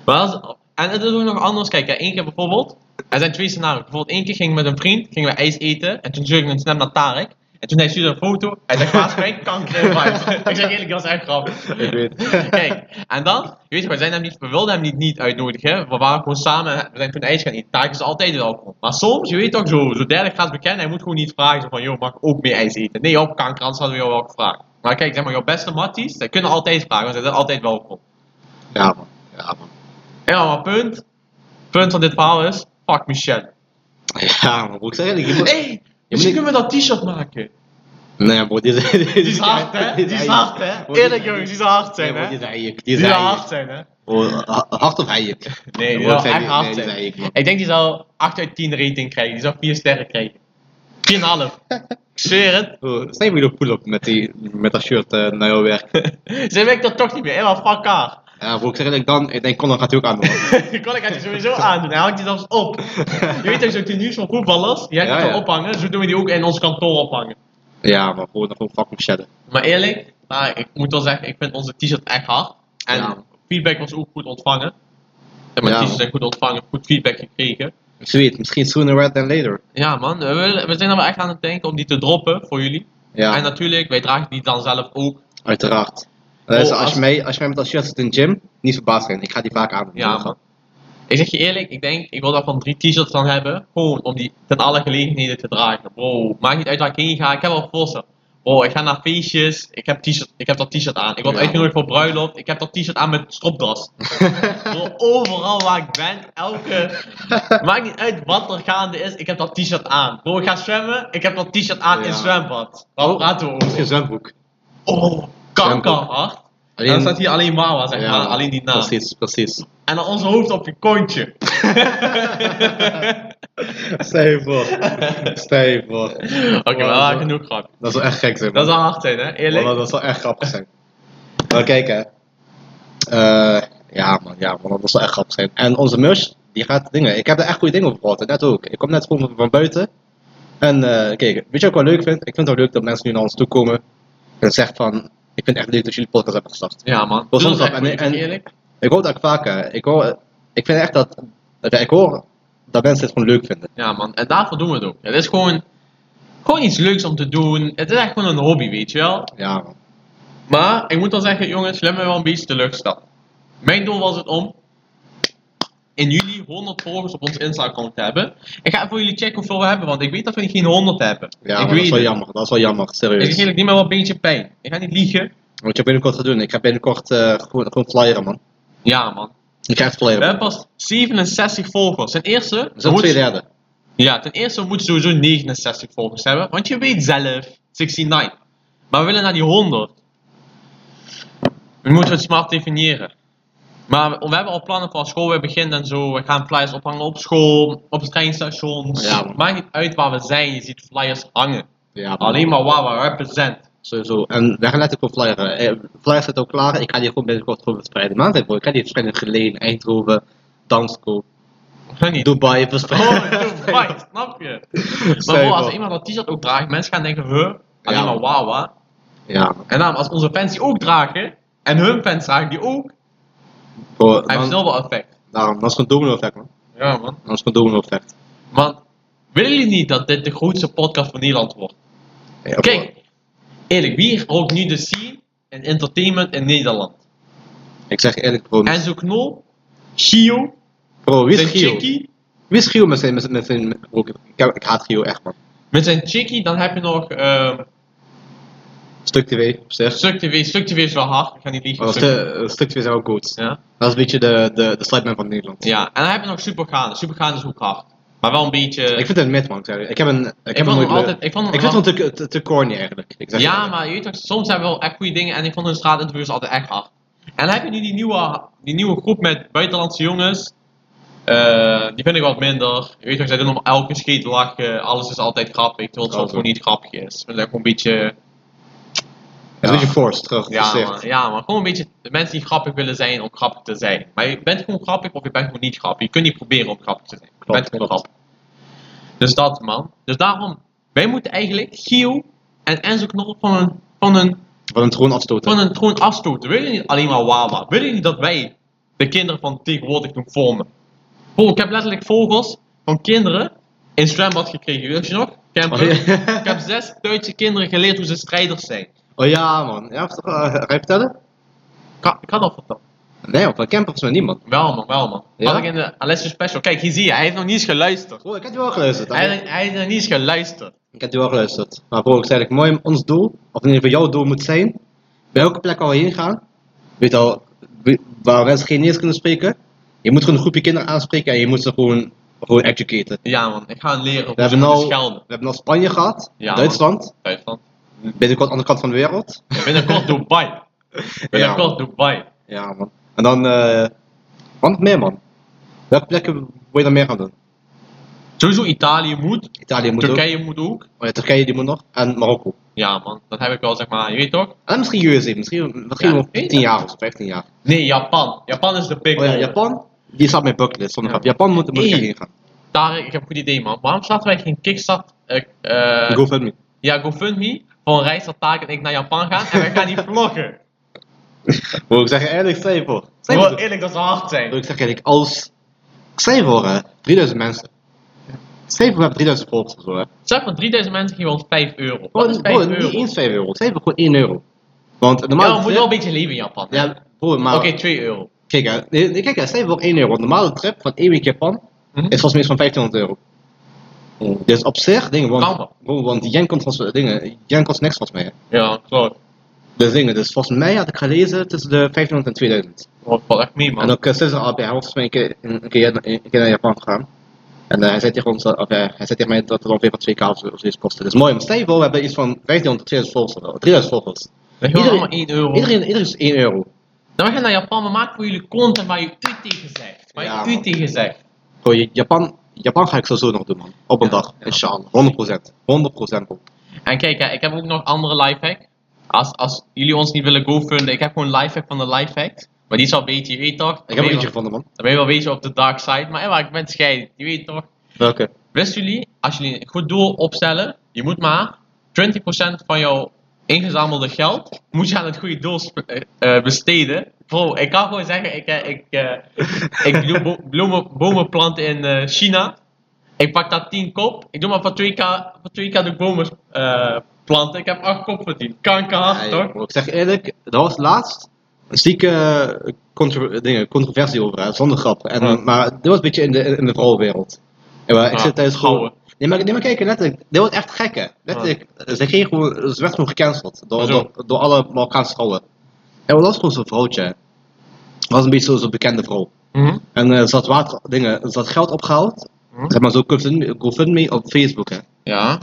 Speaker 1: Maar dat is- en het is ook nog anders. Kijk, hè, één keer bijvoorbeeld. Er zijn twee scenario's. Bijvoorbeeld één keer ging ik met een vriend, gingen we ijs eten. En toen stuurde ik een snap naar Tarek. En toen hij stuurde een foto. Hij zegt, waar is mijn kanker Ik zeg eerlijk, dat is echt grappig.
Speaker 2: Ik weet.
Speaker 1: Kijk, en dan, je weet toch, we, zijn hem niet, we wilden hem niet, niet uitnodigen. We waren gewoon samen, en we zijn toen ijs gaan eten. Taak is altijd welkom. Maar soms, je weet toch, zo, zo derde gaat bekend, hij moet gewoon niet vragen zo van, joh, mag ik ook meer ijs eten? Nee, op kanker, anders hadden we jou wel gevraagd. Maar kijk, zeg maar, jouw beste matties, zij kunnen altijd vragen, want zij zijn altijd welkom.
Speaker 2: Ja, man. Ja, man.
Speaker 1: Ja, maar punt, punt van dit verhaal is, fuck Michelle.
Speaker 2: Ja, man. Bro, ik zeg eerlijk, je moet-
Speaker 1: Hé, hey, misschien
Speaker 2: ik-
Speaker 1: kunnen we dat t-shirt maken.
Speaker 2: Nee, bro, die is... Die
Speaker 1: Die is hard, hè? Die is hard, hè? Eerlijk, jongens, die zou hard zijn,
Speaker 2: Nee, bro,
Speaker 1: hè?
Speaker 2: die
Speaker 1: Die
Speaker 2: is eik. Die is
Speaker 1: zou
Speaker 2: eik.
Speaker 1: hard zijn, hè?
Speaker 2: Bro, ha- Hard of eik?
Speaker 1: Nee, die
Speaker 2: Bro,
Speaker 1: zou
Speaker 2: ik zeg
Speaker 1: echt
Speaker 2: niet- nee,
Speaker 1: hard
Speaker 2: die is
Speaker 1: zijn.
Speaker 2: eik, man.
Speaker 1: Ik denk die zou 8 uit 10 rating krijgen. Die zou 4 sterren krijgen. 4,5. Ik zweer het.
Speaker 2: Bro, Stel je weer op pull-up met, die, met dat shirt eh, naar jouw werk.
Speaker 1: Ze werkt dat toch niet meer. Helemaal fuck haar.
Speaker 2: Ja, bro, Eh, ik zeg eerlijk, dan... Ik denk, kom, dan gaat hij ook aan, man.
Speaker 1: Kon ik het sowieso aandoen. Hij hangt die zelfs op. Je weet toch, zo'n tenues van voetballers. Die heb je
Speaker 2: Ja,
Speaker 1: toch
Speaker 2: ja.
Speaker 1: ophangen. Zo doen we die ook in ons kantoor ophangen.
Speaker 2: Ja, maar gewoon, gewoon fucking shadden.
Speaker 1: Maar eerlijk, nou, ik moet wel zeggen, ik vind onze t-shirt echt hard. En
Speaker 2: Ja.
Speaker 1: feedback was ook goed ontvangen. En mijn
Speaker 2: Ja.
Speaker 1: t-shirts zijn goed ontvangen, goed feedback gekregen.
Speaker 2: Sweet, misschien sooner rather than later.
Speaker 1: Ja man, we, willen- we zijn er wel echt aan het denken om die te droppen voor jullie.
Speaker 2: Ja,
Speaker 1: En natuurlijk, wij dragen die dan zelf ook.
Speaker 2: uiteraard. Luister, Oh, als,
Speaker 1: als-
Speaker 2: je mij, als je mij met dat shirt zit in de gym, niet verbaasd zijn. Ik ga die vaak aan.
Speaker 1: Ja, man. Ik zeg je eerlijk, ik denk, ik wil daarvan drie t-shirts dan hebben. Gewoon om die ten alle gelegenheden te dragen. Bro, maakt niet uit waar ik heen ga. Ik heb al voorstel. Bro, ik ga naar feestjes. Ik heb, t-shirt, ik heb dat t-shirt aan. Ik word
Speaker 2: Ja.
Speaker 1: uitgenodigd voor bruiloft. Ik heb dat t-shirt aan met stropdas. Bro, overal waar ik ben, elke. Maakt niet uit wat er gaande is, ik heb dat t-shirt aan. Bro, ik ga zwemmen. Ik heb dat t-shirt aan in
Speaker 2: Ja. Oh.
Speaker 1: zwembad. Waar praten we
Speaker 2: Misschien
Speaker 1: over?
Speaker 2: zwembroek.
Speaker 1: Oh, kankerhard. En dan staat hier alleen Mama, zeg maar. Alleen die naam.
Speaker 2: Precies, precies.
Speaker 1: En dan ons hoofd op je kontje.
Speaker 2: Stel je voor. Stel je voor.
Speaker 1: Oké,
Speaker 2: Wow,
Speaker 1: maar
Speaker 2: zo.
Speaker 1: genoeg grap.
Speaker 2: Dat zou echt gek zijn.
Speaker 1: Dat
Speaker 2: man.
Speaker 1: zou hard zijn, hè? Eerlijk?
Speaker 2: Wallah, dat zou echt grappig zijn. Maar kijk, hè. Eh, ja, man, ja, man, dat zou echt grappig zijn. En onze merch, die gaat dingen. Ik heb daar echt goede dingen over gehoord. Net ook. Ik kom net gewoon van, van buiten. En eh, kijk, weet je wat ik wel leuk vind? Ik vind het wel leuk dat mensen nu naar ons toe komen en zeggen van, ik vind het echt leuk dat jullie podcast hebben gestart.
Speaker 1: Ja, man.
Speaker 2: Dat is
Speaker 1: Doe
Speaker 2: ons
Speaker 1: dat
Speaker 2: op.
Speaker 1: echt
Speaker 2: En-
Speaker 1: goed,
Speaker 2: en-
Speaker 1: eerlijk?
Speaker 2: Ik hoor dat ik vaker, ik hoor, ik vind echt dat, dat ik hoor dat mensen het gewoon leuk vinden.
Speaker 1: Ja, man. En daarvoor doen we het ook. Het is gewoon, gewoon iets leuks om te doen. Het is echt gewoon een hobby, weet je wel?
Speaker 2: Ja, man.
Speaker 1: Maar ik moet wel zeggen, jongens, jullie hebben me wel een beetje teleurgesteld. Mijn doel was het om in juli 100 volgers op ons Insta-account hebben. Ik ga voor jullie checken hoeveel we hebben, want ik weet dat we geen 100 hebben. ik
Speaker 2: Ja, maar dat is wel jammer. Dat is wel jammer,
Speaker 1: Ik
Speaker 2: serieus.
Speaker 1: geef het niet meer wel een beetje pijn. Ik ga niet liegen.
Speaker 2: Wat je binnenkort gaat doen. Ik ga binnenkort eh, gewoon, gewoon flyeren, man.
Speaker 1: Ja, man.
Speaker 2: Ik ga echt
Speaker 1: We
Speaker 2: flyeren.
Speaker 1: hebben pas 67 volgers. Ten eerste,
Speaker 2: We zijn
Speaker 1: moet-
Speaker 2: twee derde.
Speaker 1: ja, ten eerste moet sowieso 69 volgers hebben, want je weet zelf, 69. Maar we willen naar die 100. We moeten het smart definiëren. Maar we, we hebben al plannen voor als school weer begint en zo. We gaan flyers ophangen op school, op het treinstation.
Speaker 2: Ja, man.
Speaker 1: Maakt niet uit waar we zijn, je ziet flyers hangen.
Speaker 2: Ja, man.
Speaker 1: Alleen maar waar we represent.
Speaker 2: Sowieso. En we gaan letterlijk gewoon flyeren. Eh, Flyers zitten ook klaar. Ik ga die gewoon binnenkort gewoon verspreiden. Maand bro. Ik ga die verspreiden in Geleen, Eindhoven, Damsko,
Speaker 1: Ga niet.
Speaker 2: Dubai
Speaker 1: Oh,
Speaker 2: verspreiden.
Speaker 1: doe fight, snap je? Maar
Speaker 2: Stel je
Speaker 1: bro, als
Speaker 2: voor.
Speaker 1: iemand dat t-shirt ook draagt, mensen gaan denken, huh, alleen
Speaker 2: Ja,
Speaker 1: maar
Speaker 2: man.
Speaker 1: wauw, hè.
Speaker 2: Ja,
Speaker 1: En daarom, als onze fans die ook dragen, en hun fans dragen die ook,
Speaker 2: bro.
Speaker 1: hij heeft
Speaker 2: Dan,
Speaker 1: snel wel effect.
Speaker 2: daarom, dat is gewoon domino effect, man.
Speaker 1: Ja, man.
Speaker 2: Dat is gewoon domino effect.
Speaker 1: Want, willen jullie niet dat dit de grootste podcast van Nederland wordt?
Speaker 2: Ja, bro.
Speaker 1: Kijk, eerlijk, wie rookt nu de scene en entertainment in Nederland?
Speaker 2: Ik zeg je eerlijk, bro.
Speaker 1: Enzo Knol, Gio,
Speaker 2: Bro, Hm. wie
Speaker 1: zijn
Speaker 2: is Gio?
Speaker 1: Chickie.
Speaker 2: Wie is Gio met zijn... Met zijn, met zijn met- bro, ik, ik haat Gio echt, man.
Speaker 1: Met zijn Chickie, dan heb je nog ehm
Speaker 2: Stuk TV, op zich.
Speaker 1: Stuk TV. Stuk TV is wel hard, ik ga niet liegen.
Speaker 2: Maar
Speaker 1: Stuk-
Speaker 2: stu- eh, stuk TV zijn ook goed.
Speaker 1: ja.
Speaker 2: Dat is een beetje de, de, de sideman van Nederland.
Speaker 1: ja, en dan heb je nog Supergaande. Supergaande is ook hard. Maar wel een beetje...
Speaker 2: Ik vind het een mid, man. Ik zeg je. Ik heb een... Ik, heb
Speaker 1: Eh, Ik vond
Speaker 2: nooit
Speaker 1: hem
Speaker 2: leuk.
Speaker 1: altijd... Ik vond hem
Speaker 2: Ik vind het te, te, te corny eigenlijk. Ik zeg je
Speaker 1: Ja,
Speaker 2: eerlijk.
Speaker 1: maar je weet toch, soms hebben we wel echt goede dingen en ik vond hun straatinterviews altijd echt hard. En dan heb je nu die nieuwe, die nieuwe groep met buitenlandse jongens. Eh, die vind ik wat minder. Je weet toch, zij doen om elke scheet lachen, alles is altijd grappig, terwijl het soms
Speaker 2: Grappig.
Speaker 1: gewoon niet grappig is. Maar dat is gewoon een beetje...
Speaker 2: Het is een beetje forced, terug.
Speaker 1: Ja
Speaker 2: gezicht.
Speaker 1: man, ja man, gewoon een beetje de mensen die grappig willen zijn om grappig te zijn. Maar je bent gewoon grappig of je bent gewoon niet grappig. Je kunt niet proberen om grappig te zijn. Je
Speaker 2: Klopt,
Speaker 1: bent gewoon
Speaker 2: klopt.
Speaker 1: grappig. Dus dat man. Dus daarom, wij moeten eigenlijk Gio en Enzo Knol van een, van een
Speaker 2: Van een troon afstoten.
Speaker 1: van een troon afstoten. Wil je niet alleen maar Wawa? Wil je niet dat wij de kinderen van tegenwoordig doen vormen? Bro, ik heb letterlijk vogels van kinderen in zwembad gekregen. Weet je nog? Ik heb,
Speaker 2: Oh, ja.
Speaker 1: ik heb zes Duitse kinderen geleerd hoe ze strijders zijn.
Speaker 2: Oh ja, man. Ja, of- eh, ga je vertellen?
Speaker 1: Ik had, ik had al verteld.
Speaker 2: Nee, op een camper is met niemand.
Speaker 1: Wel man, wel man.
Speaker 2: Ja?
Speaker 1: Had ik in de Alessio Special. Kijk, hier zie je, hij heeft nog niet eens geluisterd.
Speaker 2: Bro, ik heb die wel geluisterd.
Speaker 1: Hij, hij heeft nog niet eens geluisterd.
Speaker 2: Ik heb die wel geluisterd. Maar bro, ik zei eigenlijk mooi, ons doel, of in ieder geval jouw doel moet zijn, bij elke plek waar we heen gaan, weet je al, we- waar mensen geen Nederlands kunnen spreken, je moet gewoon een groepje kinderen aanspreken en je moet ze gewoon, gewoon educaten.
Speaker 1: Ja man, ik ga hem leren
Speaker 2: We
Speaker 1: hoe ze
Speaker 2: hebben, nou-
Speaker 1: moeten
Speaker 2: al,
Speaker 1: schelden.
Speaker 2: we hebben al Spanje gehad,
Speaker 1: Ja,
Speaker 2: Duitsland,
Speaker 1: Duitsland.
Speaker 2: binnenkort aan de andere kant van de wereld.
Speaker 1: Binnenkort Dubai. Binnenkort Dubai.
Speaker 2: Ja, man. En dan, eh, wat nog meer, man? Welke plekken wil je dan meer gaan doen?
Speaker 1: Sowieso Italië moet.
Speaker 2: Italië moet ook.
Speaker 1: Turkije moet ook.
Speaker 2: Oh ja, Turkije die moet nog. En Marokko.
Speaker 1: Ja, man, dat heb ik wel zeg maar, je weet toch?
Speaker 2: En misschien USA, misschien, misschien
Speaker 1: Ja,
Speaker 2: nog
Speaker 1: weet
Speaker 2: 10
Speaker 1: je.
Speaker 2: jaar of zo, 15 jaar.
Speaker 1: Nee, Japan. Japan is de big
Speaker 2: Oh ja,
Speaker 1: one.
Speaker 2: Japan, die staat mijn bucketlist. Zonder
Speaker 1: Ja.
Speaker 2: grap. Japan moet, moet ik
Speaker 1: Hey.
Speaker 2: heen gaan.
Speaker 1: Daar, ik heb een goed idee, man. Waarom starten wij geen kickstart? eh eh,
Speaker 2: GoFundMe.
Speaker 1: Ja, GoFundMe. Voor een reis dat Taak en ik naar Japan gaan en wij gaan die vloggen.
Speaker 2: Bro, ik zeg je eerlijk, stel je voor. Stel je
Speaker 1: Bro,
Speaker 2: voor.
Speaker 1: eerlijk, dat zou hard zijn.
Speaker 2: Bro, ik zeg eerlijk, als... Stel je voor, hè, 3000 mensen. Stel je voor, we hebben 3000 volgers of zo, hè.
Speaker 1: Zeg maar, 3000 mensen geven ons 5 euro. Wat is
Speaker 2: Bro,
Speaker 1: 5
Speaker 2: bro,
Speaker 1: euro?
Speaker 2: niet eens 5 euro. Stel je voor, gewoon 1 euro. Want normaal...
Speaker 1: ja, we moeten wel een beetje leven in Japan. hè?
Speaker 2: Ja, bro, maar...
Speaker 1: Oké, 2 euro.
Speaker 2: Kijk, hè, nee, nee, kijk hè, stel je voor 1 euro. Een normale trip van 1 week Japan
Speaker 1: Mhm. Oh.
Speaker 2: is volgens mij iets van 1500 euro. Dus op zich, dingen, want,
Speaker 1: Kan wel.
Speaker 2: bro, want die yen komt, volgens- dingen, yen kost niks volgens mij. hè.
Speaker 1: Ja, klopt.
Speaker 2: Dus dingen, dus volgens mij had ik gelezen tussen de 1500 en 2000.
Speaker 1: Dat valt echt mee, man.
Speaker 2: En ook uh, sinds al bij hij was volgens mij een keer, een, een keer, een keer naar Japan gegaan. En eh, hij, zei tegen ons, dat- of, eh, hij zei tegen mij dat het ongeveer van 2k of zo- of zoiets kostte. Dus mooi, maar stel je voor, we hebben iets van 1500 tot 2000 volgers. of zo, 3000 volgers.
Speaker 1: We geven
Speaker 2: iedereen-
Speaker 1: allemaal 1 euro.
Speaker 2: Iedereen, iedereen is 1 euro.
Speaker 1: Nou, we gaan naar Japan, we maken voor jullie content waar je u tegen zegt. Waar
Speaker 2: Ja,
Speaker 1: je u
Speaker 2: man.
Speaker 1: tegen zegt.
Speaker 2: Bro, je- Japan, Japan ga ik sowieso nog doen, man. Op een
Speaker 1: Ja,
Speaker 2: dag,
Speaker 1: ja.
Speaker 2: inshallah. 100%. 100% bro.
Speaker 1: En kijk, hè, ik heb ook nog andere lifehack. Als, als jullie ons niet willen gofunden, ik heb gewoon lifehack van de lifehack. Maar die is al een beetje, je weet toch?
Speaker 2: Ik heb
Speaker 1: een
Speaker 2: er eentje gevonden, man.
Speaker 1: Dan ben je wel wezen op de dark side. Maar ja, ik ben scheidend, je weet toch?
Speaker 2: Welke?
Speaker 1: Wisten jullie, als jullie een goed doel opstellen, je moet maar 20% van jouw ingezamelde geld, moet je aan het goede doel sp- eh, eh, besteden. Bro, ik kan gewoon zeggen, ik, eh, ik, eh, ik doe bo- bloemen, bomen planten in eh, China. Ik pak daar 10 kop. Ik doe maar voor 2k, voor 2k de bomen eh, planten. Ik heb 8 kop verdiend. Kanker hard,
Speaker 2: Ja,
Speaker 1: toch?
Speaker 2: bro, ik zeg je eerlijk, dat was laatst. een zieke contro dingen, controversie over uit, zonder grap. En,
Speaker 1: Ja.
Speaker 2: Maar dit was een beetje in de, in de vrouwenwereld. En, maar ik
Speaker 1: Ja,
Speaker 2: zit tijdens gewoon...
Speaker 1: vrouwen.
Speaker 2: Nee maar, nee, maar kijk, letterlijk, dit was echt gek, hè. Letterlijk, ze, ging gewoon, ze werd gewoon gecanceld door,
Speaker 1: Zo.
Speaker 2: door, door alle Marokkaanse vrouwen. En dat was gewoon zo'n vrouwtje. hè. Dat was een beetje zo- zo'n bekende vrouw.
Speaker 1: Mhm.
Speaker 2: En eh, ze had water, dingen, ze had geld opgehaald.
Speaker 1: Hm?
Speaker 2: Zeg maar zo GoFundMe GoFundMe op Facebook, hè.
Speaker 1: Ja.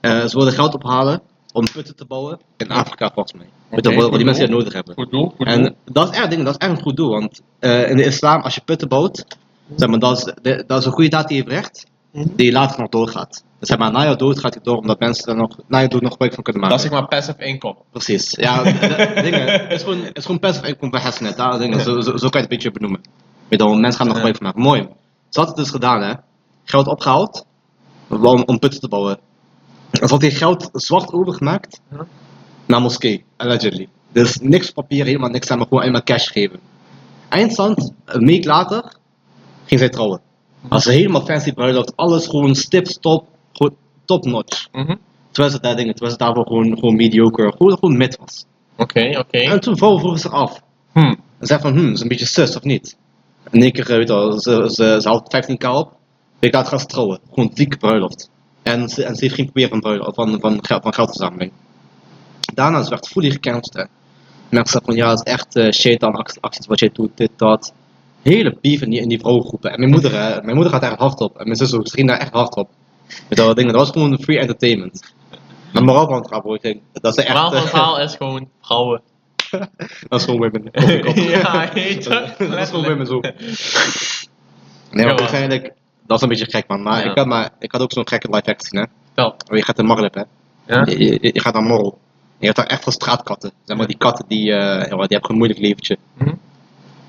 Speaker 2: Eh, ze wilden geld ophalen om putten te bouwen in Afrika, volgens mij. Weet je
Speaker 1: Oké, Hm.
Speaker 2: wel, wat die
Speaker 1: goed
Speaker 2: mensen dat
Speaker 1: doel.
Speaker 2: nodig hebben.
Speaker 1: Goed doel. Goed doel.
Speaker 2: En dat is echt, ding, dat is echt een goed doel, want eh, in de islam, als je putten bouwt, zeg maar, dat, is, de- dat is een goede daad die je verricht,
Speaker 1: Mhm.
Speaker 2: die later nog doorgaat. Dus zeg maar, na je dood gaat die door, omdat mensen er nog, na je dood nog gebruik van kunnen maken.
Speaker 1: Dat is zeg maar passive income.
Speaker 2: Precies, ja, d- dingen, het is gewoon, het is gewoon passive income bij hersenen, daar, ah, dingen, zo, zo, zo kan je het een beetje benoemen. Weet je wel, mensen gaan er nog
Speaker 1: Ja.
Speaker 2: gebruik van maken, mooi. Ze had het dus gedaan, hè. Geld opgehaald, om, om putten te bouwen. En ze had die geld zwart overgemaakt,
Speaker 1: Ja.
Speaker 2: naar moskee, allegedly. Dus niks papier, helemaal niks, maar gewoon helemaal cash geven. Eindstand, een week later, ging zij trouwen. Als ze helemaal fancy bruiloft, alles gewoon stip, stop, gewoon top notch.
Speaker 1: Mhm.
Speaker 2: Terwijl ze daar dingen, terwijl ze daarvoor gewoon, gewoon mediocre, gewoon, gewoon mid was.
Speaker 1: Oké, oké.
Speaker 2: En toen vrouwen vroegen ze af.
Speaker 1: Hm.
Speaker 2: Ze zeiden van, hmm, is een beetje sus of niet? En één keer, eh, weet je wel, ze, ze, ze haalt 15k op. Ik laat gaan ze trouwen. Gewoon dikke bruiloft. En ze, en ze heeft geen proberen van, bruiloft, van, van, geld- van geldverzameling. Daarna ze werd fully gecanceld. hè. Mensen zeiden van, ja, het is echt eh shaitan act- acties wat jij doet, dit, dat. Hele beef in die, in die vrouwengroepen. En mijn moeder, hè, mijn moeder gaat daar echt hard op. En mijn zus ook, ze ging daar echt hard op. Met dat dingen. Dat was gewoon free entertainment. Maar moraal van het verhaal, bro, ik denk, dat ze
Speaker 1: Het
Speaker 2: echt...
Speaker 1: verhaal van het
Speaker 2: eh,
Speaker 1: verhaal is gewoon vrouwen.
Speaker 2: dat is gewoon women.
Speaker 1: ja, heet
Speaker 2: Dat
Speaker 1: het.
Speaker 2: is gewoon women zo. Nee,
Speaker 1: Ja,
Speaker 2: maar
Speaker 1: man.
Speaker 2: uiteindelijk, dat is een beetje gek, man. Maar,
Speaker 1: Ja.
Speaker 2: ik, had maar ik had ook zo'n gekke live act gezien, hè.
Speaker 1: Wel.
Speaker 2: Oh, Je gaat naar Maghreb, hè.
Speaker 1: Ja.
Speaker 2: Je, je- je gaat naar Morrel. En je hebt daar echt veel straatkatten. Zeg maar, die katten, die, eh, ja, die hebben gewoon een moeilijk leventje.
Speaker 1: Mhm.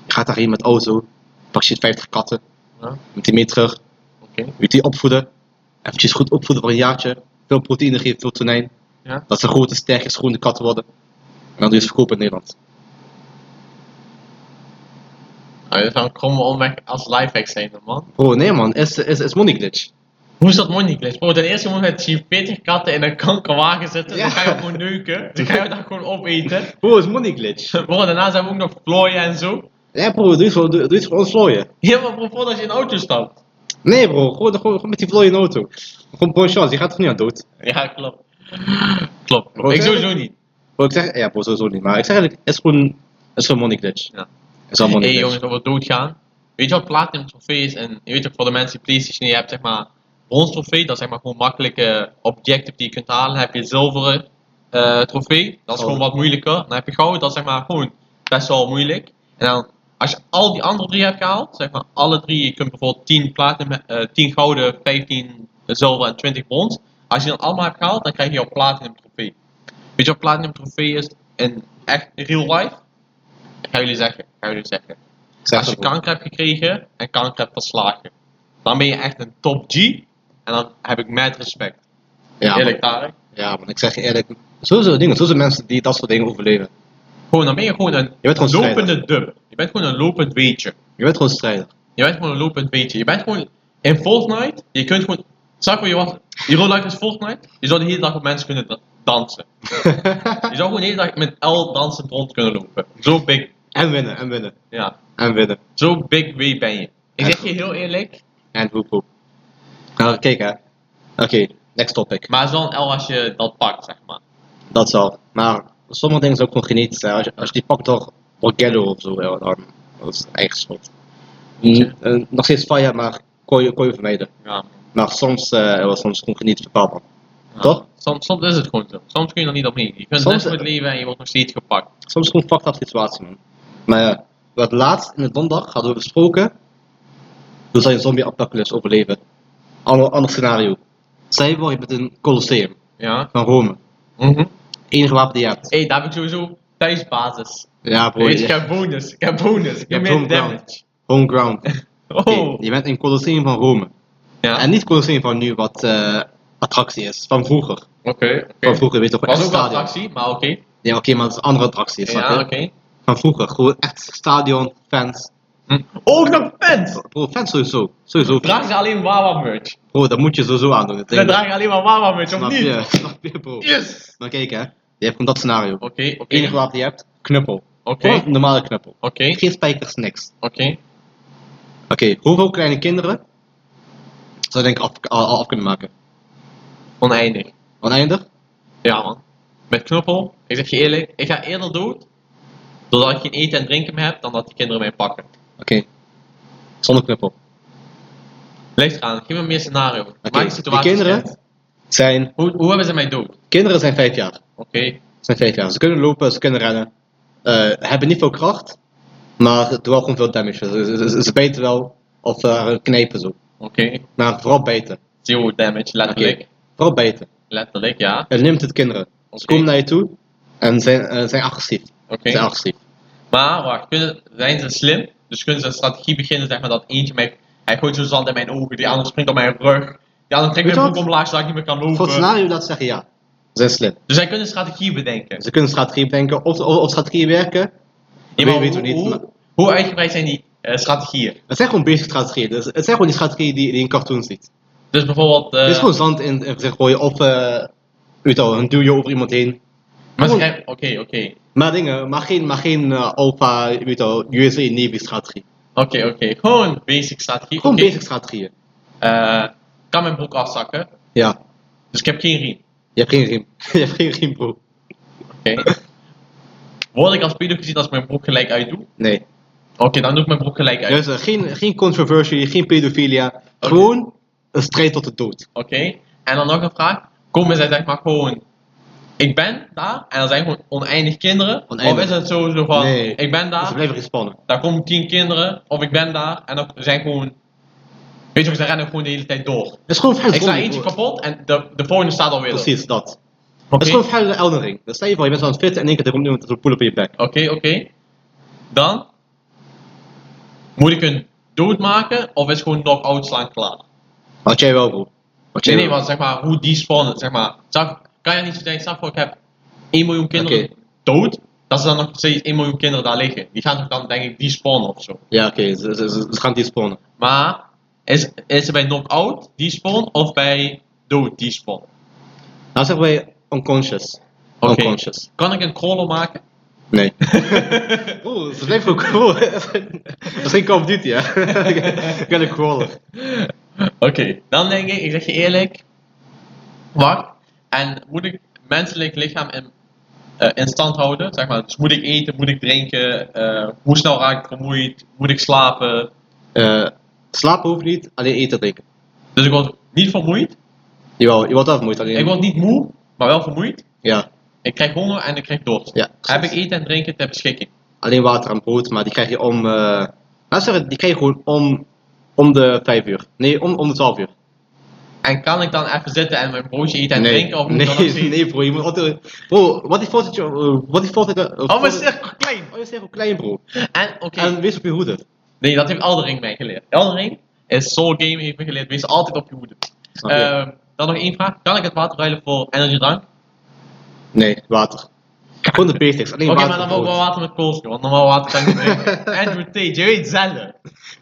Speaker 2: Je gaat daarheen met auto, pak je 50 katten,
Speaker 1: Ja.
Speaker 2: met die mee terug,
Speaker 1: Oké.
Speaker 2: moet die opvoeden. Eventjes goed opvoeden voor een jaartje. Veel proteïne geven, veel tonijn.
Speaker 1: Ja.
Speaker 2: Dat ze grote, sterke, schone katten worden. En dan doe je ze verkopen in Nederland.
Speaker 1: Nou, dat gaan kromme omweg als lifehack zijn, man.
Speaker 2: Bro, nee man, is, is, is money glitch.
Speaker 1: Hoe is dat money glitch? Bro, ten eerste moet je met 40 katten in een kankerwagen zitten.
Speaker 2: Ja.
Speaker 1: Dan ga je gewoon neuken. Dan ga je dat gewoon opeten.
Speaker 2: Bro, is money glitch.
Speaker 1: Bro, daarnaast hebben we ook nog vlooien en zo.
Speaker 2: Ja bro, doe iets voor, doe, doe iets voor ons vlooien.
Speaker 1: Ja, maar bro, voordat je in een auto stapt.
Speaker 2: Nee bro, gewoon, gewoon, gewoon met die vlooien in de auto. Gewoon bon chance, die gaat toch niet aan dood?
Speaker 1: Ja, klopt. Klopt.
Speaker 2: Bro,
Speaker 1: ik
Speaker 2: zeg-
Speaker 1: sowieso niet.
Speaker 2: Bro, ik zeg, ja bro, sowieso niet. Maar ik zeg eigenlijk, het is gewoon, het is gewoon money glitch.
Speaker 1: Ja.
Speaker 2: Het is allemaal dus.
Speaker 1: Hé hey,
Speaker 2: money
Speaker 1: jongens,
Speaker 2: glitch.
Speaker 1: dat we doodgaan. Weet je wat platinum trofee is? En je weet ook voor de mensen die PlayStation niet hebben, zeg maar, brons trofee, dat is zeg maar gewoon makkelijke objecten die je kunt halen. Dan heb je zilveren eh, trofee, dat is
Speaker 2: Gouden.
Speaker 1: gewoon wat moeilijker. Dan heb je goud, dat is zeg maar gewoon best wel moeilijk. En dan, als je al die andere drie hebt gehaald, zeg maar alle drie, je kunt bijvoorbeeld 10 platinum, eh, 10 gouden, 15 zilver en 20 brons. Als je dat allemaal hebt gehaald, dan krijg je jouw platinum trofee. Weet je wat platinum trofee is in echt real life? Ik ga jullie zeggen, ik ga jullie zeggen.
Speaker 2: Zeg
Speaker 1: Als je
Speaker 2: dat, bro.
Speaker 1: kanker hebt gekregen en kanker hebt verslagen, dan ben je echt een top G en dan heb ik met respect.
Speaker 2: ja,
Speaker 1: Eerlijk
Speaker 2: man,
Speaker 1: Tarek.
Speaker 2: ja man, ik zeg je eerlijk, sowieso dingen, sowieso mensen die dat soort dingen overleven.
Speaker 1: Gewoon, dan ben je gewoon een
Speaker 2: bent gewoon
Speaker 1: lopende dub. Je bent gewoon een lopend weetje.
Speaker 2: Je bent gewoon strijder.
Speaker 1: Je bent gewoon een lopend weetje. Je bent gewoon in Fortnite, je kunt gewoon. Zag je wat? Die rol is Fortnite. Je zou de hele dag op mensen kunnen da- dansen. Je zou gewoon de hele dag met L dansend rond kunnen lopen. Zo big,
Speaker 2: en winnen, en winnen,
Speaker 1: ja.
Speaker 2: en winnen.
Speaker 1: Zo big way ben je. Ik zeg je heel eerlijk,
Speaker 2: En hoep hoep. Nou, kijk hè. Oké, next topic.
Speaker 1: maar het is wel een L als je dat pakt, zeg maar.
Speaker 2: Dat zal. Maar sommige dingen is ook gewoon genetisch. hè. Als je, als je die pakt door Borgello of zo, ja, dan dat is eigen schuld.
Speaker 1: Ja.
Speaker 2: N- eh, nog steeds fire, maar kon je, kon je vermijden.
Speaker 1: Ja.
Speaker 2: Maar soms eh was soms gewoon genetisch bepaald. man.
Speaker 1: Ja.
Speaker 2: Toch?
Speaker 1: Soms, soms is het gewoon zo. Soms kun je er niet op mee. Je kunt
Speaker 2: Soms-
Speaker 1: best goed leven en je wordt nog steeds gepakt.
Speaker 2: Soms gewoon fucked up situatie, man. Maar ja, wat laatst in het donderdag hadden we besproken. Hoe zou je een zombie apocalypse overleven? Ander, ander scenario. Zij wordt met een colosseum
Speaker 1: Ja.
Speaker 2: van Rome.
Speaker 1: Mhm.
Speaker 2: Enige wapen die je hebt.
Speaker 1: Hé, hey, daar heb ik sowieso thuisbasis.
Speaker 2: Ja, bro.
Speaker 1: Weet je, ik
Speaker 2: je-
Speaker 1: heb bonus. Ik heb bonus. Ik
Speaker 2: Je
Speaker 1: heb
Speaker 2: hebt
Speaker 1: meer
Speaker 2: homegrown.
Speaker 1: damage.
Speaker 2: Home ground.
Speaker 1: Oh.
Speaker 2: Je bent in colosseum van Rome.
Speaker 1: Ja.
Speaker 2: En niet Colosseum van nu, wat eh, attractie is. Van vroeger.
Speaker 1: Oké.
Speaker 2: Van
Speaker 1: oké.
Speaker 2: vroeger, weet je toch, echt
Speaker 1: Was ook wel
Speaker 2: stadion.
Speaker 1: attractie, maar oké.
Speaker 2: Ja, oké, maar dat is een andere attractie, snap
Speaker 1: Ja,
Speaker 2: je?
Speaker 1: oké.
Speaker 2: Van vroeger, gewoon echt stadion, fans.
Speaker 1: Hm. Ook nog fans!
Speaker 2: Bro, fans sowieso. Sowieso.
Speaker 1: Draag ze alleen Wawa merch.
Speaker 2: Bro, dat moet je sowieso aandoen. dat
Speaker 1: Dan
Speaker 2: ding.
Speaker 1: draag je alleen maar Wawa merch, of
Speaker 2: Snap
Speaker 1: niet?
Speaker 2: je? Snap je, bro.
Speaker 1: Yes!
Speaker 2: Maar kijk hè, je hebt gewoon dat scenario.
Speaker 1: Oké, oké.
Speaker 2: Enige wapen die je hebt, knuppel.
Speaker 1: Oké,
Speaker 2: Gewoon een normale knuppel.
Speaker 1: oké,
Speaker 2: Geen spijkers, niks.
Speaker 1: oké.
Speaker 2: Oké, hoeveel kleine kinderen zou je denk ik af, al- al af kunnen maken?
Speaker 1: Oneindig.
Speaker 2: Oneindig?
Speaker 1: Ja, man. Met knuppel, ik zeg je eerlijk, ik ga eerder dood doordat ik geen eten en drinken meer heb dan dat die kinderen mij pakken.
Speaker 2: Oké. Zonder knuppel.
Speaker 1: Ligt eraan, geef me meer scenario.
Speaker 2: Oké,
Speaker 1: Maak de
Speaker 2: die
Speaker 1: situatie
Speaker 2: kinderen
Speaker 1: schets.
Speaker 2: zijn,
Speaker 1: Hoe, hoe hebben ze mij dood?
Speaker 2: kinderen zijn vijf jaar.
Speaker 1: Oké,
Speaker 2: Ze zijn vijf jaar. Ze kunnen lopen, ze kunnen rennen. Eh, hebben niet veel kracht, maar het doet wel gewoon veel damage. Ze, ze- ze- ze bijten wel, of eh, knijpen zo.
Speaker 1: oké.
Speaker 2: Maar vooral bijten.
Speaker 1: Zero damage, letterlijk.
Speaker 2: Vooral bijten.
Speaker 1: Letterlijk, ja.
Speaker 2: Het neemt het kinderen. Ze
Speaker 1: Oké,
Speaker 2: komen naar je toe en zijn, eh, zijn agressief.
Speaker 1: oké.
Speaker 2: Zijn agressief.
Speaker 1: Maar, wacht, kunnen, zijn ze slim? Dus kunnen ze een strategie beginnen, zeg maar, dat eentje mij... Hij gooit zo zand in mijn ogen, die ander springt op mijn rug. Die ander trekt
Speaker 2: Weet
Speaker 1: mijn
Speaker 2: je
Speaker 1: broek omlaag, zodat ik niet meer kan
Speaker 2: Voor het
Speaker 1: lopen.
Speaker 2: scenario laat zeggen ja. Ze zijn slim.
Speaker 1: Dus zij kunnen een strategie bedenken.
Speaker 2: Ze kunnen strategie bedenken of, of, of strategieën werken.
Speaker 1: Ja,
Speaker 2: weet-
Speaker 1: maar
Speaker 2: weten we niet,
Speaker 1: hoe,
Speaker 2: maar-
Speaker 1: hoe, hoe uitgebreid zijn die eh, strategieën?
Speaker 2: Het zijn gewoon basic strategieën. Dus het zijn gewoon die strategieën die, die je in cartoons ziet.
Speaker 1: Dus bijvoorbeeld... eh,
Speaker 2: Het is gewoon zand in in het gezicht gooien of eh weet je wel, een duwje over iemand heen.
Speaker 1: maar ze
Speaker 2: gewoon-
Speaker 1: krijgen- Oké, oké.
Speaker 2: Maar dingen, maar geen, maar geen eh, alpha, je weet wel, USA Navy strategie.
Speaker 1: Oké, oké. Gewoon basic strategie.
Speaker 2: Gewoon
Speaker 1: Oké,
Speaker 2: basic strategieën.
Speaker 1: eh, kan mijn broek afzakken,
Speaker 2: Ja,
Speaker 1: dus ik heb geen riem.
Speaker 2: je hebt geen riem. je hebt geen riem, bro.
Speaker 1: Oké. Word ik als pedo gezien als ik mijn broek gelijk uitdoe?
Speaker 2: Nee.
Speaker 1: Oké, dan doe ik mijn broek gelijk uit.
Speaker 2: Dus eh, geen, geen controversie, geen pedofilia. Gewoon een strijd tot de dood.
Speaker 1: Oké. En dan nog een vraag. Komen zij zeg maar gewoon... Ik ben daar en er zijn gewoon oneindig kinderen.
Speaker 2: Oneindig.
Speaker 1: Of is het zo zo van...
Speaker 2: Nee.
Speaker 1: Ik ben
Speaker 2: Ze
Speaker 1: daar,
Speaker 2: Dus blijven gespannen.
Speaker 1: daar komen tien kinderen. Of ik ben daar en er zijn gewoon... Weet je wel, ze rennen gewoon de hele tijd door.
Speaker 2: Het is gewoon vrij
Speaker 1: Ik sla
Speaker 2: zonde,
Speaker 1: eentje
Speaker 2: bro.
Speaker 1: kapot en de, de volgende staat alweer. op.
Speaker 2: Precies, dat. Het
Speaker 1: Oké,
Speaker 2: is gewoon vrij de Elden Ring. Dan sta je voor, je bent zo aan het fitten en in één keer er komt iemand met een poel op je bek.
Speaker 1: oké, oké. Dan... Moet ik hun doodmaken of is gewoon knock-out slaan klaar?
Speaker 2: Wat jij wel, bro. Wat
Speaker 1: Nee,
Speaker 2: jij
Speaker 1: nee,
Speaker 2: wel.
Speaker 1: want zeg maar, hoe die spawnen, zeg maar. Zou- kan je niet zo denken, stel voor, ik heb 1 miljoen kinderen
Speaker 2: Oké.
Speaker 1: dood, dat ze dan nog steeds 1 miljoen kinderen daar liggen. Die gaan toch dan, denk ik, die spawnen of zo.
Speaker 2: Ja, oké, ze, ze, ze- ze gaan die spawnen.
Speaker 1: Maar, is, is het bij knock-out die spawn, of bij dood die spawn?
Speaker 2: Nou zeggen wij unconscious.
Speaker 1: Oké.
Speaker 2: Unconscious.
Speaker 1: Kan ik een crawler maken?
Speaker 2: Nee. Oeh, ze blijven ook cool. Dat is geen Call of Duty, hè? Ik ben een crawler.
Speaker 1: Oké, dan denk ik, ik zeg je eerlijk, wacht, en moet ik menselijk lichaam in, eh, in stand houden? Zeg maar, dus moet ik eten, moet ik drinken, eh, hoe snel raak ik vermoeid, moet ik slapen?
Speaker 2: Eh, slapen hoeft niet, alleen eten drinken.
Speaker 1: Dus ik word niet vermoeid.
Speaker 2: Jawel, je wordt afmoeid, alleen...
Speaker 1: Ik word niet moe, maar wel vermoeid.
Speaker 2: Ja,
Speaker 1: Ik krijg honger en ik krijg dorst.
Speaker 2: ja.
Speaker 1: Heb ik eten en drinken ter beschikking?
Speaker 2: Alleen water en brood, maar die krijg je om... eh laat zeggen, die krijg je gewoon om, om de 5 uur. Nee, om, om de 12 uur.
Speaker 1: En kan ik dan even zitten en mijn broodje eten en drinken? Of moet
Speaker 2: nee,
Speaker 1: ik dan nog
Speaker 2: nee,
Speaker 1: steeds-
Speaker 2: nee, bro. Je moet altijd... Bro, wat die voorzitter... eh, Wat die voorzitter...
Speaker 1: Oh, maar het is echt klein.
Speaker 2: Oh, je zegt ook klein, bro.
Speaker 1: En, oké.
Speaker 2: En wees op je hoede.
Speaker 1: Nee, dat heeft Eldering mij geleerd. Eldering is Soul Game heeft me geleerd. Wees altijd op je hoede.
Speaker 2: Snap je?
Speaker 1: Ehm, dan nog één vraag. Kan ik het water ruilen voor energiedrank?
Speaker 2: nee, water. Gewoon de basics, alleen
Speaker 1: Oké,
Speaker 2: water
Speaker 1: maar dan
Speaker 2: en
Speaker 1: wil ik
Speaker 2: brood.
Speaker 1: wel water met koolzuur. Want normaal water kan ik niet drinken. Andrew Tate, je weet zelf.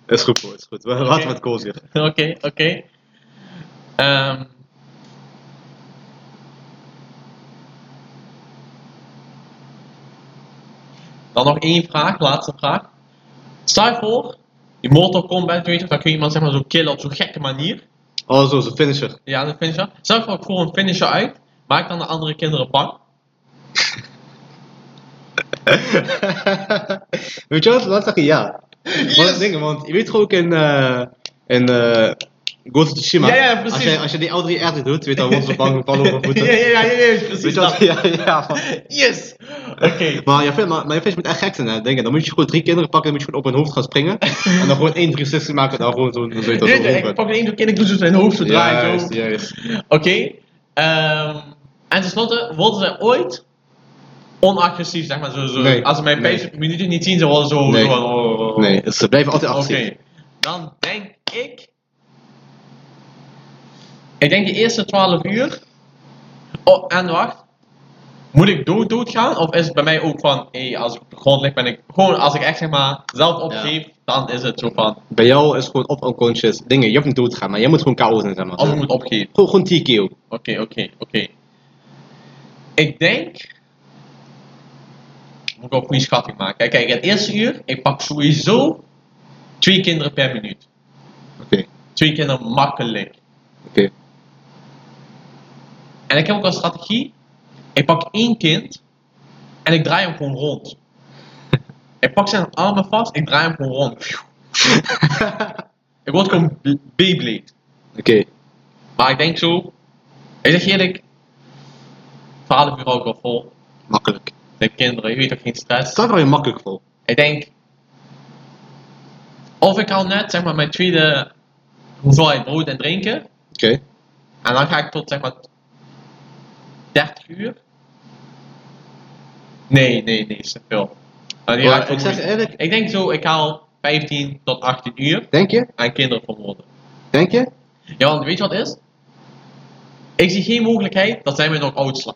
Speaker 2: Is goed, bro, is goed. We laten we het koolzuur.
Speaker 1: Oké, oké. Ehm. Dan nog één vraag, laatste vraag. Stel je voor, in Mortal Kombat, weet je, dan kun je iemand zeg maar zo killen op zo'n gekke manier.
Speaker 2: Oh, zo, zo'n finisher.
Speaker 1: Ja, de finisher. Stel je voor, ik voer een finisher uit, maak dan de andere kinderen bang.
Speaker 2: weet je wat? Laat zeggen ja. Want, dingen, want je weet gewoon ook in, eh in eh Ghost of Tsushima.
Speaker 1: Ja, ja, precies.
Speaker 2: Als je, als je die L3 echt doet, weet je dan wordt ze bang vallen over voeten.
Speaker 1: ja, ja, ja, ja, ja, precies.
Speaker 2: Weet je wat?
Speaker 1: dat.
Speaker 2: Ja, ja. man.
Speaker 1: Yes! Oké.
Speaker 2: Maar je vindt, maar, maar je vindt het echt gek zijn, hè? Dingen. Dan moet je gewoon drie kinderen pakken, dan moet je gewoon op hun hoofd gaan springen. en dan gewoon één 360 maken, en dan gewoon zo'n zo, zo, zo,
Speaker 1: Dit- ik pak een één kind, ik doe zo zijn hoofd zo draaien. zo.
Speaker 2: Juist, juist.
Speaker 1: Oké. ehm, en tenslotte, worden zij ooit onagressief, zeg maar. Zo, zo,
Speaker 2: Nee,
Speaker 1: Als ze mij
Speaker 2: nee.
Speaker 1: 50 minuten niet zien, ze worden zo...
Speaker 2: Nee.
Speaker 1: zo van, oh, oh, oh.
Speaker 2: Nee, ze blijven altijd
Speaker 1: Oké.
Speaker 2: actief.
Speaker 1: Dan denk ik... Ik denk de eerste 12 uur... Oh, en wacht. Moet ik dood dood gaan? Of is het bij mij ook van... Hé, als ik op de grond lig, ben ik... Gewoon als ik echt, zeg maar, zelf opgeef, dan is het zo van...
Speaker 2: Bij jou is gewoon op unconscious dingen. Je hoeft niet dood te gaan, maar jij moet gewoon KO zijn, zeg maar.
Speaker 1: Als ik moet oh, opgeven.
Speaker 2: Gewoon, gewoon TKO.
Speaker 1: Oké, oké, oké. Ik denk moet ik wel een goede schatting maken. Kijk, kijk, het eerste uur, ik pak sowieso twee kinderen per minuut.
Speaker 2: Oké,
Speaker 1: Twee kinderen makkelijk.
Speaker 2: oké.
Speaker 1: En ik heb ook een strategie. Ik pak één kind en ik draai hem gewoon rond. ik pak zijn armen vast, ik draai hem gewoon rond. ik word gewoon B- Beyblade.
Speaker 2: Oké,
Speaker 1: Maar ik denk zo, ik zeg je eerlijk, 12 uur ook wel vol.
Speaker 2: makkelijk.
Speaker 1: De kinderen, je weet toch geen stress.
Speaker 2: Staat wel je makkelijk vol.
Speaker 1: Ik denk, of ik haal net zeg maar mijn tweede hoeveelheid brood en drinken.
Speaker 2: Oké.
Speaker 1: En dan ga ik tot zeg maar 30 uur. Nee, nee, nee, is te veel. Maar die raakt
Speaker 2: Oh,
Speaker 1: wel
Speaker 2: ik zeg je
Speaker 1: moeilijk.
Speaker 2: eerlijk,
Speaker 1: ik denk zo, ik haal 15 tot 18 uur
Speaker 2: denk je?
Speaker 1: aan kinderen vermoorden.
Speaker 2: Denk je?
Speaker 1: Ja, want weet je wat het is? Ik zie geen mogelijkheid dat zij mij nog uitslaan.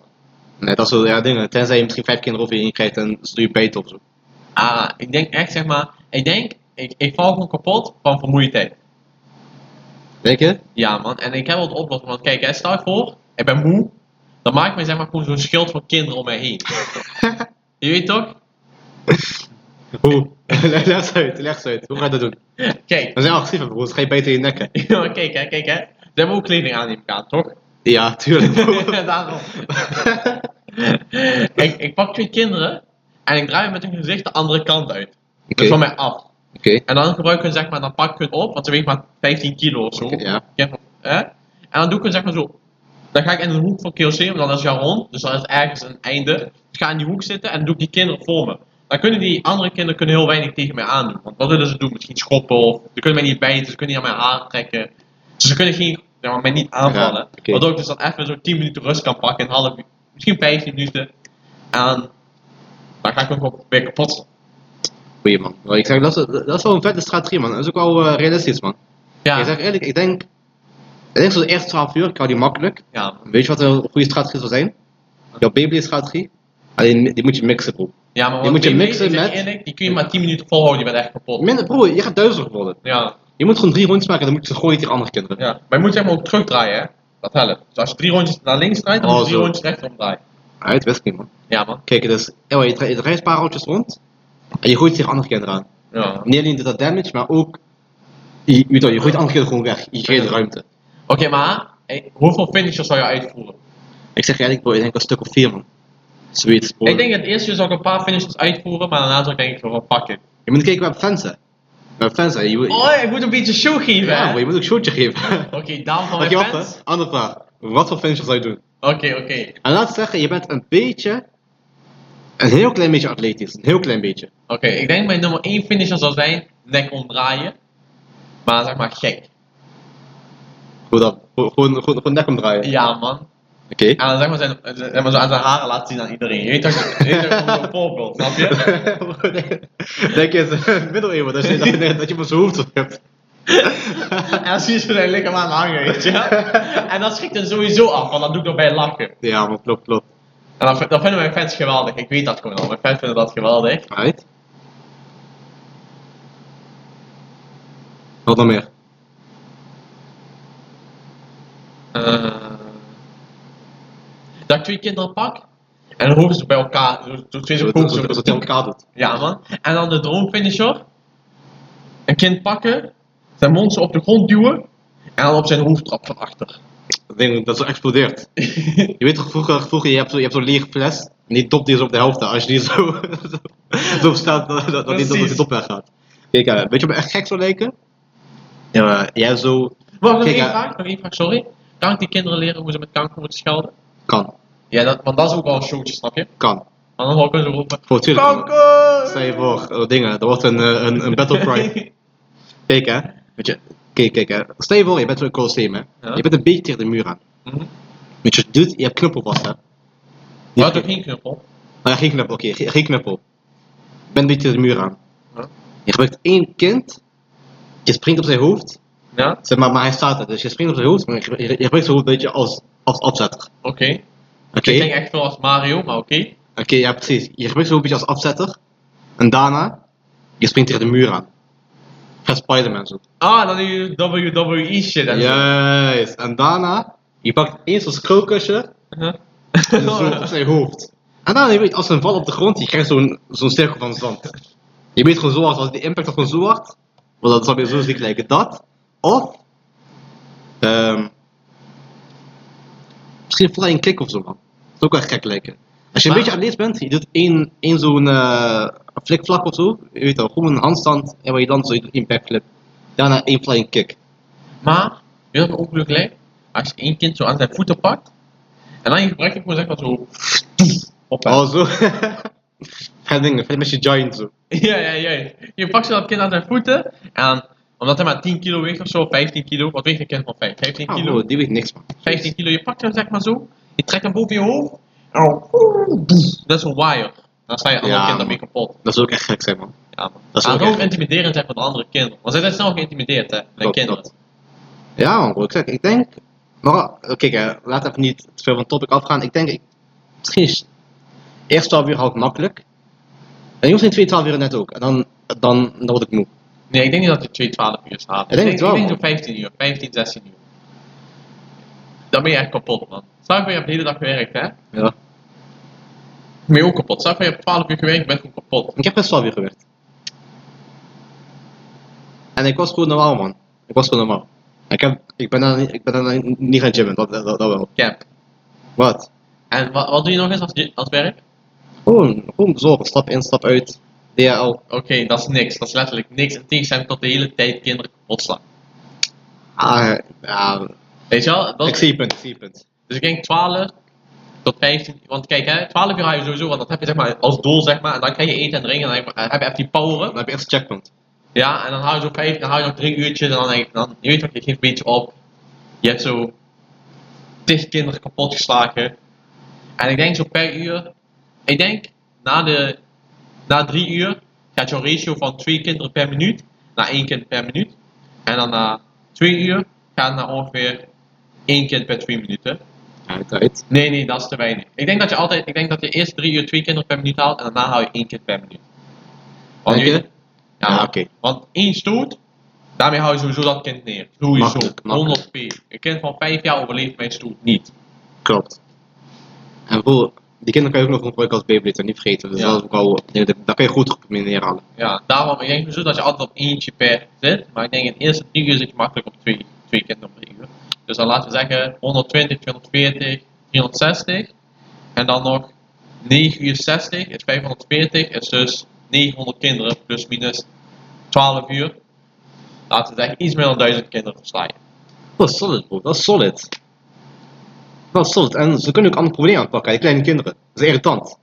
Speaker 2: Nee, dat soort ja, dingen. Tenzij je misschien vijf kinderen over je heen krijgt en ze doe je beter of zo.
Speaker 1: Ah, ik denk echt zeg maar, ik denk, ik, ik val gewoon kapot van vermoeidheid.
Speaker 2: Denk je?
Speaker 1: Ja man, en ik heb wel de oplossing, want kijk, hè, stel je voor, ik ben moe, dan maak ik me zeg maar gewoon zo'n schild van kinderen om mij heen. je weet toch?
Speaker 2: Hoe? leg ze uit, leg ze uit. Hoe ga je dat doen?
Speaker 1: Kijk,
Speaker 2: Dan zijn we agressief, broer. Dan ga je beter in je nekken.
Speaker 1: ja, kijk hè, kijk hè, ze hebben ook kleding aan die elkaar, toch?
Speaker 2: Ja, tuurlijk. broer.
Speaker 1: Daarom. ik, ik pak twee kinderen en ik draai met hun gezicht de andere kant uit.
Speaker 2: Oké.
Speaker 1: Dus van mij af.
Speaker 2: Oké.
Speaker 1: En dan gebruik ik hun, zeg maar, dan pak ik hun op, want ze weegt maar 15 kilo of zo.
Speaker 2: Oké, ja.
Speaker 1: hè? En dan doe ik hun, zeg maar, zo. Dan ga ik in de hoek van KLC, want dan is Jaron, dus dan is ergens een einde. Dus ik ga in die hoek zitten en dan doe ik die kinderen voor me. Dan kunnen die andere kinderen kunnen heel weinig tegen mij aandoen. Want wat willen ze doen? Misschien schoppen of ze kunnen mij niet bijten, ze kunnen niet aan mijn haar trekken. Dus ze kunnen geen, zeg maar, mij niet aanvallen.
Speaker 2: Ja, oké.
Speaker 1: Waardoor ik dus dan even zo 10 minuten rust kan pakken, een half uur, misschien 15 minuten. En dan ga ik ook wel weer kapot slaan.
Speaker 2: Goeie man. Maar Ik zeg, dat is, dat is wel een vette strategie man. Dat is ook wel eh, realistisch man.
Speaker 1: Ja,
Speaker 2: Ik zeg eerlijk, ik denk... Ik denk zo'n eerste 12 uur, ik hou die makkelijk.
Speaker 1: ja,
Speaker 2: Weet je wat een goede strategie zou zijn? Jouw Beyblade-strategie. Alleen die moet je mixen, broer.
Speaker 1: Ja, maar
Speaker 2: Die
Speaker 1: wat
Speaker 2: moet je
Speaker 1: BB,
Speaker 2: mixen
Speaker 1: ik zeg
Speaker 2: met-
Speaker 1: Eerlijk, die kun je maar 10 minuten volhouden, je bent echt kapot.
Speaker 2: Minder, broer, je gaat duizelig worden.
Speaker 1: Ja,
Speaker 2: Je moet gewoon drie rondjes maken en dan moet je ze gooien tegen andere kinderen.
Speaker 1: ja. Maar je moet zeg maar ook terugdraaien, hè? Dat helpt. Dus als je drie rondjes naar links draait, dan
Speaker 2: Oh,
Speaker 1: moet je drie
Speaker 2: zo.
Speaker 1: rondjes rechtom draaien.
Speaker 2: Uit, wist ik niet, man.
Speaker 1: Ja, man.
Speaker 2: Kijk, dus, anyway, je, dra- je draait een paar rondjes rond en je gooit tegen andere kinderen aan.
Speaker 1: Ja. Oké,
Speaker 2: Niet alleen doet dat damage, maar ook... Je, je, weet wel, je gooit andere kinderen gewoon weg. Je geeft ruimte.
Speaker 1: maar eh, hoeveel finishers zou je uitvoeren?
Speaker 2: Ik zeg je eerlijk, broer, ik denk een stuk of vier, man. Zoiets, broer.
Speaker 1: Ik denk dat het eerste uur zou ik een paar finishers uitvoeren, maar daarna zou ik denk ik van fuck it.
Speaker 2: Je moet kijken waar fans zijn. Waar fans zijn. Je, moet-
Speaker 1: Oh, ik moet een beetje show geven,
Speaker 2: ja, Oh,
Speaker 1: hè?
Speaker 2: broer, je moet ook een shotje geven.
Speaker 1: Oké, daarom van
Speaker 2: Oké,
Speaker 1: mijn
Speaker 2: wacht,
Speaker 1: fans.
Speaker 2: hè. Andere vraag. Wat voor finisher zou je doen?
Speaker 1: Oké, oké.
Speaker 2: En laat ik zeggen, je bent een beetje... Een heel klein beetje atletisch. Een heel klein beetje.
Speaker 1: Oké, ik denk mijn nummer 1 finisher zou zijn nek omdraaien. Maar zeg maar gek.
Speaker 2: Hoe dan? Gewoon, gewoon, gewoon, gewoon nek omdraaien.
Speaker 1: Ja, man.
Speaker 2: Oké.
Speaker 1: En dan zeg maar, zijn, zeg maar zo aan zijn haren laat zien aan iedereen. Je weet toch, je weet toch gewoon zo'n voorbeeld, snap je?
Speaker 2: Denk je eens, middeleeuwen, dat je, dat, je- dat je op zijn hoofd op hebt.
Speaker 1: En dan zie je ze zijn lichaam aan hangen, weet je. En dat schrikt hem sowieso af, want dan doe ik nog bij lachen.
Speaker 2: Ja, maar klopt, klopt.
Speaker 1: En dan, dan vinden mijn fans geweldig, ik weet dat gewoon al. Mijn fans vinden dat geweldig.
Speaker 2: Right. Wat dan meer?
Speaker 1: Eh, dat ik twee kinderen pak, en dan hoeven ze bij elkaar, zo- zo twee zo
Speaker 2: Wat
Speaker 1: koken
Speaker 2: wat-
Speaker 1: ze
Speaker 2: wat- wat hij op elkaar doet.
Speaker 1: Ja man. En dan de droomfinisher. Een kind pakken, zijn mond zo op de grond duwen, en dan op zijn hoofd trappen van achter.
Speaker 2: Dat ding dat zo explodeert. Je weet toch vroeger, vroeger je hebt zo- je hebt zo'n lege fles. En die dop die is op de helft. daar. Als je die zo, zo, zo staat, dat, dat, dat, die- dat die
Speaker 1: Precies.
Speaker 2: dop weggaat. Kijk, eh, weet je wat me echt gek zou lijken? Ja, maar jij zo
Speaker 1: Wacht, nog
Speaker 2: Kijk,
Speaker 1: één
Speaker 2: eh,
Speaker 1: vraag, nog één vraag, sorry. Kan ik die kinderen leren hoe ze met kanker moeten schelden?
Speaker 2: kan.
Speaker 1: Ja, dat, want dat is ook wel een showtje, snap je?
Speaker 2: Kan.
Speaker 1: Want dan hoor ik ze roepen,
Speaker 2: Voor tuurlijk.
Speaker 1: kanker!
Speaker 2: Stel je voor, eh, dingen. Er wordt een, eh, een, een battle cry. Kijk hè, weet je, kijk, kijk hè. Stel je voor, je bent zo'n Colosseum hè.
Speaker 1: Ja.
Speaker 2: Je bent een beetje tegen de muur aan.
Speaker 1: Mhm.
Speaker 2: Weet je, dude, je hebt knuppel vast hè.
Speaker 1: Je had toch geen knuppel?
Speaker 2: Maar geen knuppel, oké, geen, geen knuppel. Je bent een beetje tegen de muur aan.
Speaker 1: Ja.
Speaker 2: Je gebruikt één kind, je springt op zijn hoofd,
Speaker 1: Ja,
Speaker 2: zeg maar, maar hij staat er. Dus je springt op zijn hoofd, maar je, gebru- je gebruikt zijn hoofd een beetje als, als afzetter.
Speaker 1: oké.
Speaker 2: Oké,
Speaker 1: Ik denk echt wel als Mario, maar oké.
Speaker 2: oké, ja precies. Je gebruikt zijn hoofd een beetje als afzetter. En daarna, je springt tegen de muur aan. Ga Spider-Man zo.
Speaker 1: Ah, dan doe je WWE E shit en zo.
Speaker 2: Juist, en daarna, je pakt eerst als krulkusje
Speaker 1: Uh-huh.
Speaker 2: en zo op zijn hoofd. En dan, je weet, als ze een val op de grond, je krijgt zo'n zo'n cirkel van zand. Je weet gewoon zo hard, als die impact was gewoon zo hard, want dat zou weer zo ziek lijken. Dat, of, ehm misschien een flying kick of zo, man. Dat zou ook echt gek lijken. Als je een
Speaker 1: Maar-
Speaker 2: beetje atleet bent, je doet één, één zo'n eh flikvlak of zo, je weet wel, gewoon een handstand, en waar je dan zo'n impact flip. Daarna één flying kick.
Speaker 1: Maar, weet je wat ook leuk lijkt? Als je één kind zo aan zijn voeten pakt, en dan je gebruikt je gewoon zeg maar zo. Op,
Speaker 2: Oh, zo. Ga dingen, vet met je giant zo.
Speaker 1: Ja, ja, ja. Je pakt zo dat kind aan zijn voeten, en omdat hij maar 10 kilo weegt of zo, 15 kilo, wat weegt een kind van 5? 15
Speaker 2: Ah,
Speaker 1: kilo?
Speaker 2: wow, die weet niks, man.
Speaker 1: 15 kilo, je pakt hem zeg maar zo, je trekt hem boven je hoofd, en dan- dat is een wire. Dan sta je andere
Speaker 2: Ja,
Speaker 1: kind
Speaker 2: man.
Speaker 1: daarmee kapot.
Speaker 2: Dat zou ook echt gek zijn, man.
Speaker 1: Ja, man.
Speaker 2: Dat is
Speaker 1: en
Speaker 2: ook
Speaker 1: ook
Speaker 2: echt-
Speaker 1: intimiderend zijn voor de andere kinderen. Want zij zijn snel geïntimideerd, hè, bij
Speaker 2: Klopt,
Speaker 1: kinderen.
Speaker 2: klopt. Ja, man, broer, ik zeg, ik denk. Maar eh, kijk, hè, laat even niet te veel van het topic afgaan. Ik denk, ik, misschien is eerst 12 uur hou ik makkelijk. En jongens in 2, 12 uur net ook. En dan, dan, dan word ik moe.
Speaker 1: Nee, ik denk niet dat je 2, 12 uur slaat.
Speaker 2: Ik denk het wel,
Speaker 1: Ik denk
Speaker 2: man.
Speaker 1: zo'n 15 uur, 15, 16 uur. Dan ben je echt kapot, man. Stel ik je hebt de hele dag gewerkt, hè? Dan
Speaker 2: Ja.
Speaker 1: ben je ook kapot. Stel ik je hebt 12 uur gewerkt, ben je gewoon kapot.
Speaker 2: Ik heb best 12 uur gewerkt. En ik was gewoon normaal, man. Ik was gewoon normaal. Ik, heb, ik ben daar niet- ik ben daar niet gaan gymmen, dat, dat, dat wel.
Speaker 1: Cap.
Speaker 2: Wat?
Speaker 1: En wat, wat doe je nog eens als, je- als werk?
Speaker 2: Gewoon, gewoon bezorgen. Stap in, stap uit. DHL.
Speaker 1: Oké, dat is niks. Dat is letterlijk niks. In tegenstelling tot de hele tijd kinderen kapot slaan.
Speaker 2: Ah, ja.
Speaker 1: Weet je wel? Dat,
Speaker 2: Ik zie je punt, ik zie je punt.
Speaker 1: Dus ik denk 12 tot 15. Want kijk, hè, 12 uur ga je sowieso, want dat heb je zeg maar als doel, zeg maar. En dan krijg je eten en drinken en dan heb je even die poweren.
Speaker 2: Dan heb je echt een checkpoint.
Speaker 1: Ja, en dan hou je zo vijf, dan hou je nog drie uurtjes en dan denk ik, dan, je weet wat, je geeft een beetje op. Je hebt zo tig kinderen kapot geslagen. En ik denk zo per uur, ik denk na, de, na drie uur gaat jouw ratio van twee kinderen per minuut naar één kind per minuut. En dan na twee uur gaat het naar ongeveer één kind per twee minuten.
Speaker 2: Uit, uit.
Speaker 1: Nee, nee, dat is te weinig. Ik denk dat je altijd, ik denk dat je eerst drie uur twee kinderen per minuut haalt en daarna hou je één kind per minuut. Want
Speaker 2: Denk
Speaker 1: nu-
Speaker 2: je? Ja, Ah, oké.
Speaker 1: Want één stoot, daarmee hou je sowieso dat kind neer. Sowieso.
Speaker 2: Makkelijk,
Speaker 1: 100 p. Een kind van 5 jaar overleeft mijn stoot niet.
Speaker 2: Klopt. En voor die kinderen kan je ook nog gebruiken als Beyblade, en niet vergeten. Dus
Speaker 1: Ja.
Speaker 2: dat is ook al, nee, dat- daar kan je goed op mee neerhalen.
Speaker 1: Ja, daarom ik denk ik zo dat je altijd op eentje per zit. Maar ik denk in de eerste 3 uur zit je makkelijk op 2 twee kinderen per uur. Dus dan laten we zeggen 120, 240, 360. En dan nog 9 uur 60 is 540. Is dus 900 kinderen plus minus 12 uur. Laten we zeggen iets meer dan 1000 kinderen verslaan.
Speaker 2: Dat is solid, bro. Dat is solid. Dat is solid. En ze kunnen ook andere problemen aanpakken, die kleine kinderen. Dat is irritant.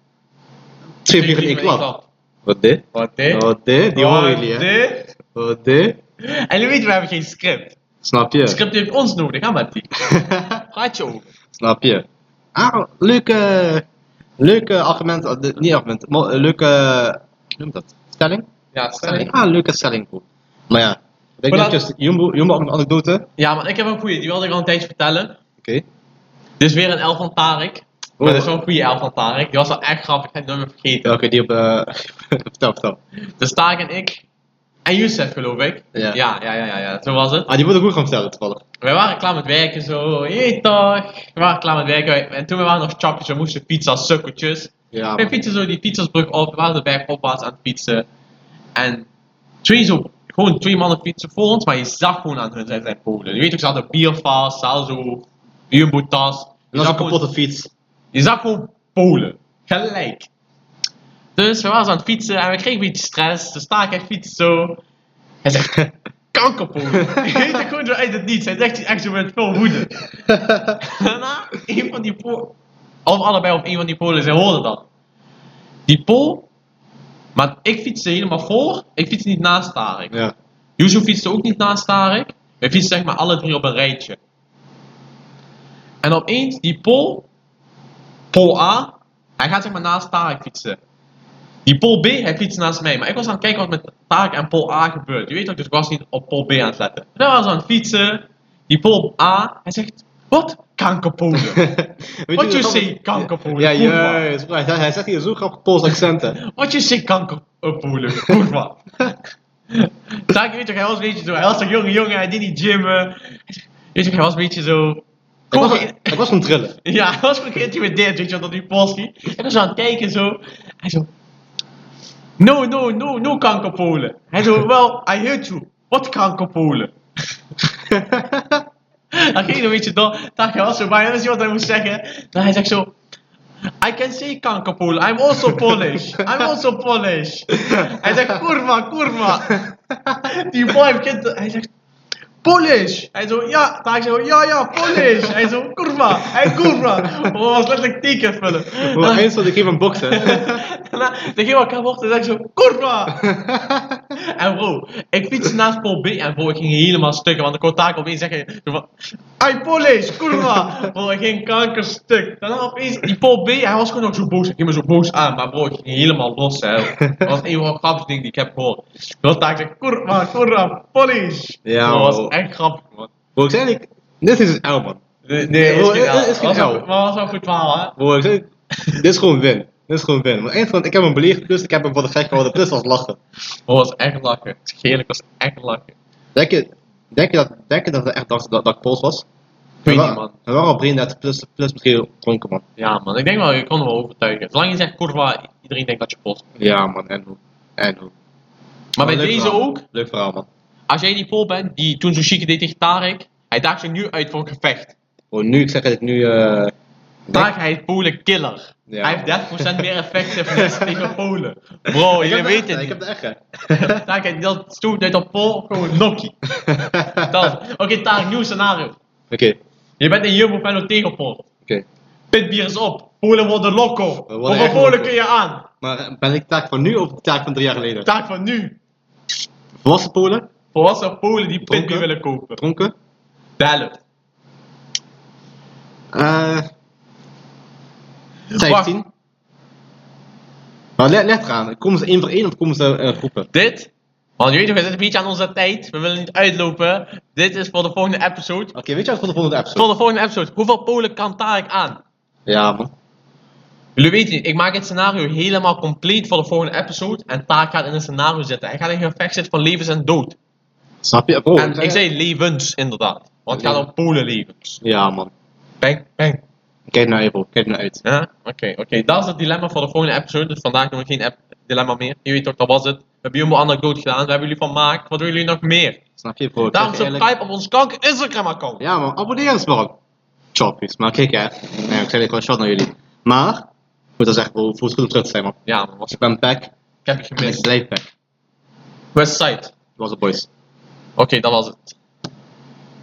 Speaker 2: Twee vliegen in één klap. Wat dit?
Speaker 1: Wat dit?
Speaker 2: Wat dit? Die horen jullie, hè?
Speaker 1: dit?
Speaker 2: Wat dit?
Speaker 1: En jullie weten, we hebben geen script.
Speaker 2: Snap je?
Speaker 1: Het script heeft ons nodig, hè, Matti? Praat je over?
Speaker 2: Snap je? Ah, leuke... Leuke argument, eh, de- niet argument, maar eh, leuke... Hoe noem je dat? Stelling?
Speaker 1: Ja,
Speaker 2: Stelling. Ah, leuke stelling, bro. Maar ja. Ik denk
Speaker 1: Maar
Speaker 2: dat
Speaker 1: dat-
Speaker 2: je Jumbo, Jumbo een anekdote. Oké.
Speaker 1: Ja, maar ik heb een goeie, die wilde ik al een tijdje vertellen. Dit is weer een elf van Tarek.
Speaker 2: Oh,
Speaker 1: Maar dat
Speaker 2: dat-
Speaker 1: is wel een goede elf van Tarek. Die was wel echt grappig, ik heb het nooit meer vergeten.
Speaker 2: Welke die op... eh vertel, vertel.
Speaker 1: Dus Tarek en ik, en Youssef geloof ik.
Speaker 2: Ja.
Speaker 1: ja, ja, ja, ja, ja, zo was het.
Speaker 2: Ah, die moet ik ook gaan vertellen, toevallig.
Speaker 1: Wij waren klaar met werken, zo, jee toch. We waren klaar met werken, wij- en toen we waren nog chapjes, we moesten pizza, sukkeltjes.
Speaker 2: Ja,
Speaker 1: Wij fietsen zo die fietsersbrug op, we waren de berg opwaarts aan het fietsen. En twee zo, gewoon twee mannen fietsen voor ons, maar je zag gewoon aan hun, zij zijn Polen. Je weet ook, ze hadden bier vast, ze hadden zo jumbo-tas. Je,
Speaker 2: En dat is
Speaker 1: zag
Speaker 2: een kapotte
Speaker 1: gewoon-
Speaker 2: fiets.
Speaker 1: je zag gewoon Polen. Gelijk. Dus we waren zo aan het fietsen en we kregen een beetje stress. Dus sta ik en fiets zo. Hij zegt, kankerpolen. Je weet het gewoon zo uit het niets. Hij zegt het echt zo met veel woede. Daarna, een van die Polen, of allebei op een van die Polen, zij hoorden dat. Die Pool, maar ik fietste helemaal voor, ik fietste niet naast Tarek.
Speaker 2: ja.
Speaker 1: Yuzu fietste ook niet naast Tarek, wij fietsten zeg maar alle drie op een rijtje. En opeens, die Pool, Pool A, hij gaat zeg maar naast Tarek fietsen. Die Pool B, hij fietst naast mij, maar ik was aan het kijken wat met Tarek en Pool A gebeurt. Je weet ook, dus ik was niet op Pool B aan het letten. Toen was aan het fietsen, die Pool A, hij zegt, wat? Kankerpolen.
Speaker 2: Weet
Speaker 1: What you
Speaker 2: dat-
Speaker 1: say, kankerpoelen,
Speaker 2: Ja,
Speaker 1: goed, man.
Speaker 2: juist. Hij, hij zegt hier zo'n grappig Pools accent, hè.
Speaker 1: Wat je zit kankerpoelen, kurwa. Daar weet toch, hij was een beetje zo, hij was een jonge jongen, hij deed niet gymmen. Hij zegt, Weet je, hij was een beetje zo,
Speaker 2: Ik
Speaker 1: Kom
Speaker 2: was,
Speaker 1: maar.
Speaker 2: ik was gewoon trillen.
Speaker 1: Ja, hij was gewoon geïntimideerd, weet je wel, door die Polski. En dan zo aan het kijken zo. Hij zo... No, no, no, no kankerpolen. Hij zo, well, I heard you. Wat kankerpolen? dan ging hij een beetje door. Dacht hij was zo bij, dat is wat hij moest zeggen. Dan hij zegt zo... I can say kankerpolen. I'm also Polish. I'm also Polish. hij zegt, kurva, kurva. die boy begint... Hij zegt... Polish! Hij zo, ja! Dan ik zo, ja, ja, Polish! Hij zo, kurva! Hij kurva! Oh, was letterlijk tien keer vullen.
Speaker 2: Voor
Speaker 1: Dan-
Speaker 2: eens dat ik even boksen.
Speaker 1: Daarna dan ging elkaar wachten en dan zei ik zo, kurva! en bro, ik fietste naast Paul B en bro, ik ging helemaal stukken, want ik kon taak opeens zeggen, zo van, I Polish, kurva! bro, ik ging kankerstuk. Daarna opeens, die Paul B, hij was gewoon ook zo boos, hij ging me zo boos aan, maar bro, ik ging helemaal los, hè. Dat was een van de grappigste dingen die ik heb gehoord. Dan taak ik, kurva, kurva, Polish!
Speaker 2: Ja,
Speaker 1: dat was
Speaker 2: bro.
Speaker 1: echt grappig, man.
Speaker 2: Bro, ik zei eigenlijk, dit is een L, man.
Speaker 1: Nee,
Speaker 2: bro,
Speaker 1: is geen
Speaker 2: het- het
Speaker 1: verhaal.
Speaker 2: is geen
Speaker 1: Was
Speaker 2: verhaal.
Speaker 1: ook- Maar was ook een goed verhaal, hè.
Speaker 2: Bro, ik zei, dit is gewoon win. Dit is gewoon win. Want eind van, ik heb hem beleefd, plus ik heb hem voor de gek gehouden, plus was lachen.
Speaker 1: Bro, Oh, was echt lachen. Het gele was echt lachen.
Speaker 2: Denk je, denk je, dat, denk je dat het echt dat, dat, dat ik Pools was?
Speaker 1: Ik weet
Speaker 2: En wa-
Speaker 1: niet, man.
Speaker 2: En waarom Breen net plus, plus misschien dronken, man?
Speaker 1: Ja, man, ik denk wel, je kon hem wel overtuigen. Zolang je zegt Kurva, iedereen denkt dat je pot.
Speaker 2: Ja, man, en hoe? En hoe?
Speaker 1: Maar bij
Speaker 2: Leuk
Speaker 1: deze
Speaker 2: verhaal.
Speaker 1: ook,
Speaker 2: Leuk verhaal, man.
Speaker 1: als jij die Pool bent die toen Sushiki deed tegen Tarek, hij daagt zich nu uit voor een gevecht.
Speaker 2: Bro, nu, ik zeg het nu, eh.
Speaker 1: Tarek, hij is Polen killer.
Speaker 2: Ja.
Speaker 1: Hij heeft 30% meer effectiveness tegen Polen. Bro, je weet het
Speaker 2: Ik
Speaker 1: niet.
Speaker 2: heb de echte.
Speaker 1: Tarek, hij deelt stoot uit op Pool, gewoon nokkie. Dat is- Oké, Tarek, nieuw scenario.
Speaker 2: Oké,
Speaker 1: Je bent een jumbo fan tegen Pool.
Speaker 2: oké.
Speaker 1: Pitbier is op. Polen worden loco.
Speaker 2: worden
Speaker 1: Hoeveel
Speaker 2: echt
Speaker 1: Polen
Speaker 2: loco.
Speaker 1: kun je aan?
Speaker 2: Maar eh, ben ik taak van nu of de taak van drie jaar geleden?
Speaker 1: Taak van nu.
Speaker 2: Volwassen Polen,
Speaker 1: Volwassen Polen die pitbier
Speaker 2: Dronken.
Speaker 1: willen kopen.
Speaker 2: dronken.
Speaker 1: Bellen.
Speaker 2: Eh. 15. Maar Nou, let, let eraan, komen ze één voor één of komen ze eh, groepen?
Speaker 1: Dit, want jullie zitten een beetje aan onze tijd. We willen niet uitlopen. Dit is voor de volgende episode.
Speaker 2: Oké, weet je wat voor de volgende episode?
Speaker 1: Voor de volgende episode. Hoeveel Polen kan Tarek aan?
Speaker 2: Ja, man.
Speaker 1: Jullie weten niet, ik maak het scenario helemaal compleet voor de volgende episode. En Tarek gaat in een scenario zitten. Hij gaat in een gevecht zitten van levens en dood.
Speaker 2: Snap Oh, je? Bro,
Speaker 1: en ik zei levens, inderdaad. Want het gaat om Polen levens.
Speaker 2: Ja, man.
Speaker 1: Bang, bang.
Speaker 2: Kijk naar je, bro. Kijk naar uit.
Speaker 1: Ja? Oké, oké. Dat is het dilemma voor de volgende episode. Dus vandaag doen we geen ep- dilemma meer. Je weet toch, dat was het. We hebben Jumbo Anecdote gedaan. We hebben jullie van Maak. Wat willen jullie nog meer?
Speaker 2: Snap je, bro? Ik
Speaker 1: Daarom
Speaker 2: zeg je
Speaker 1: subscribe op ons kanker Instagram-account.
Speaker 2: Ja, man. Abonneer eens, man. Choppies. Maar kijk, hè. Nee, ik zei gewoon shot naar jullie. Maar, ik moet wel zeggen, bro. Voelt goed om terug te zijn, man.
Speaker 1: Ja, man, was
Speaker 2: Ik ben back.
Speaker 1: Ik heb je
Speaker 2: En ik
Speaker 1: gemist.
Speaker 2: blijf back.
Speaker 1: Westside.
Speaker 2: Was het, boys.
Speaker 1: Oké, dat was het.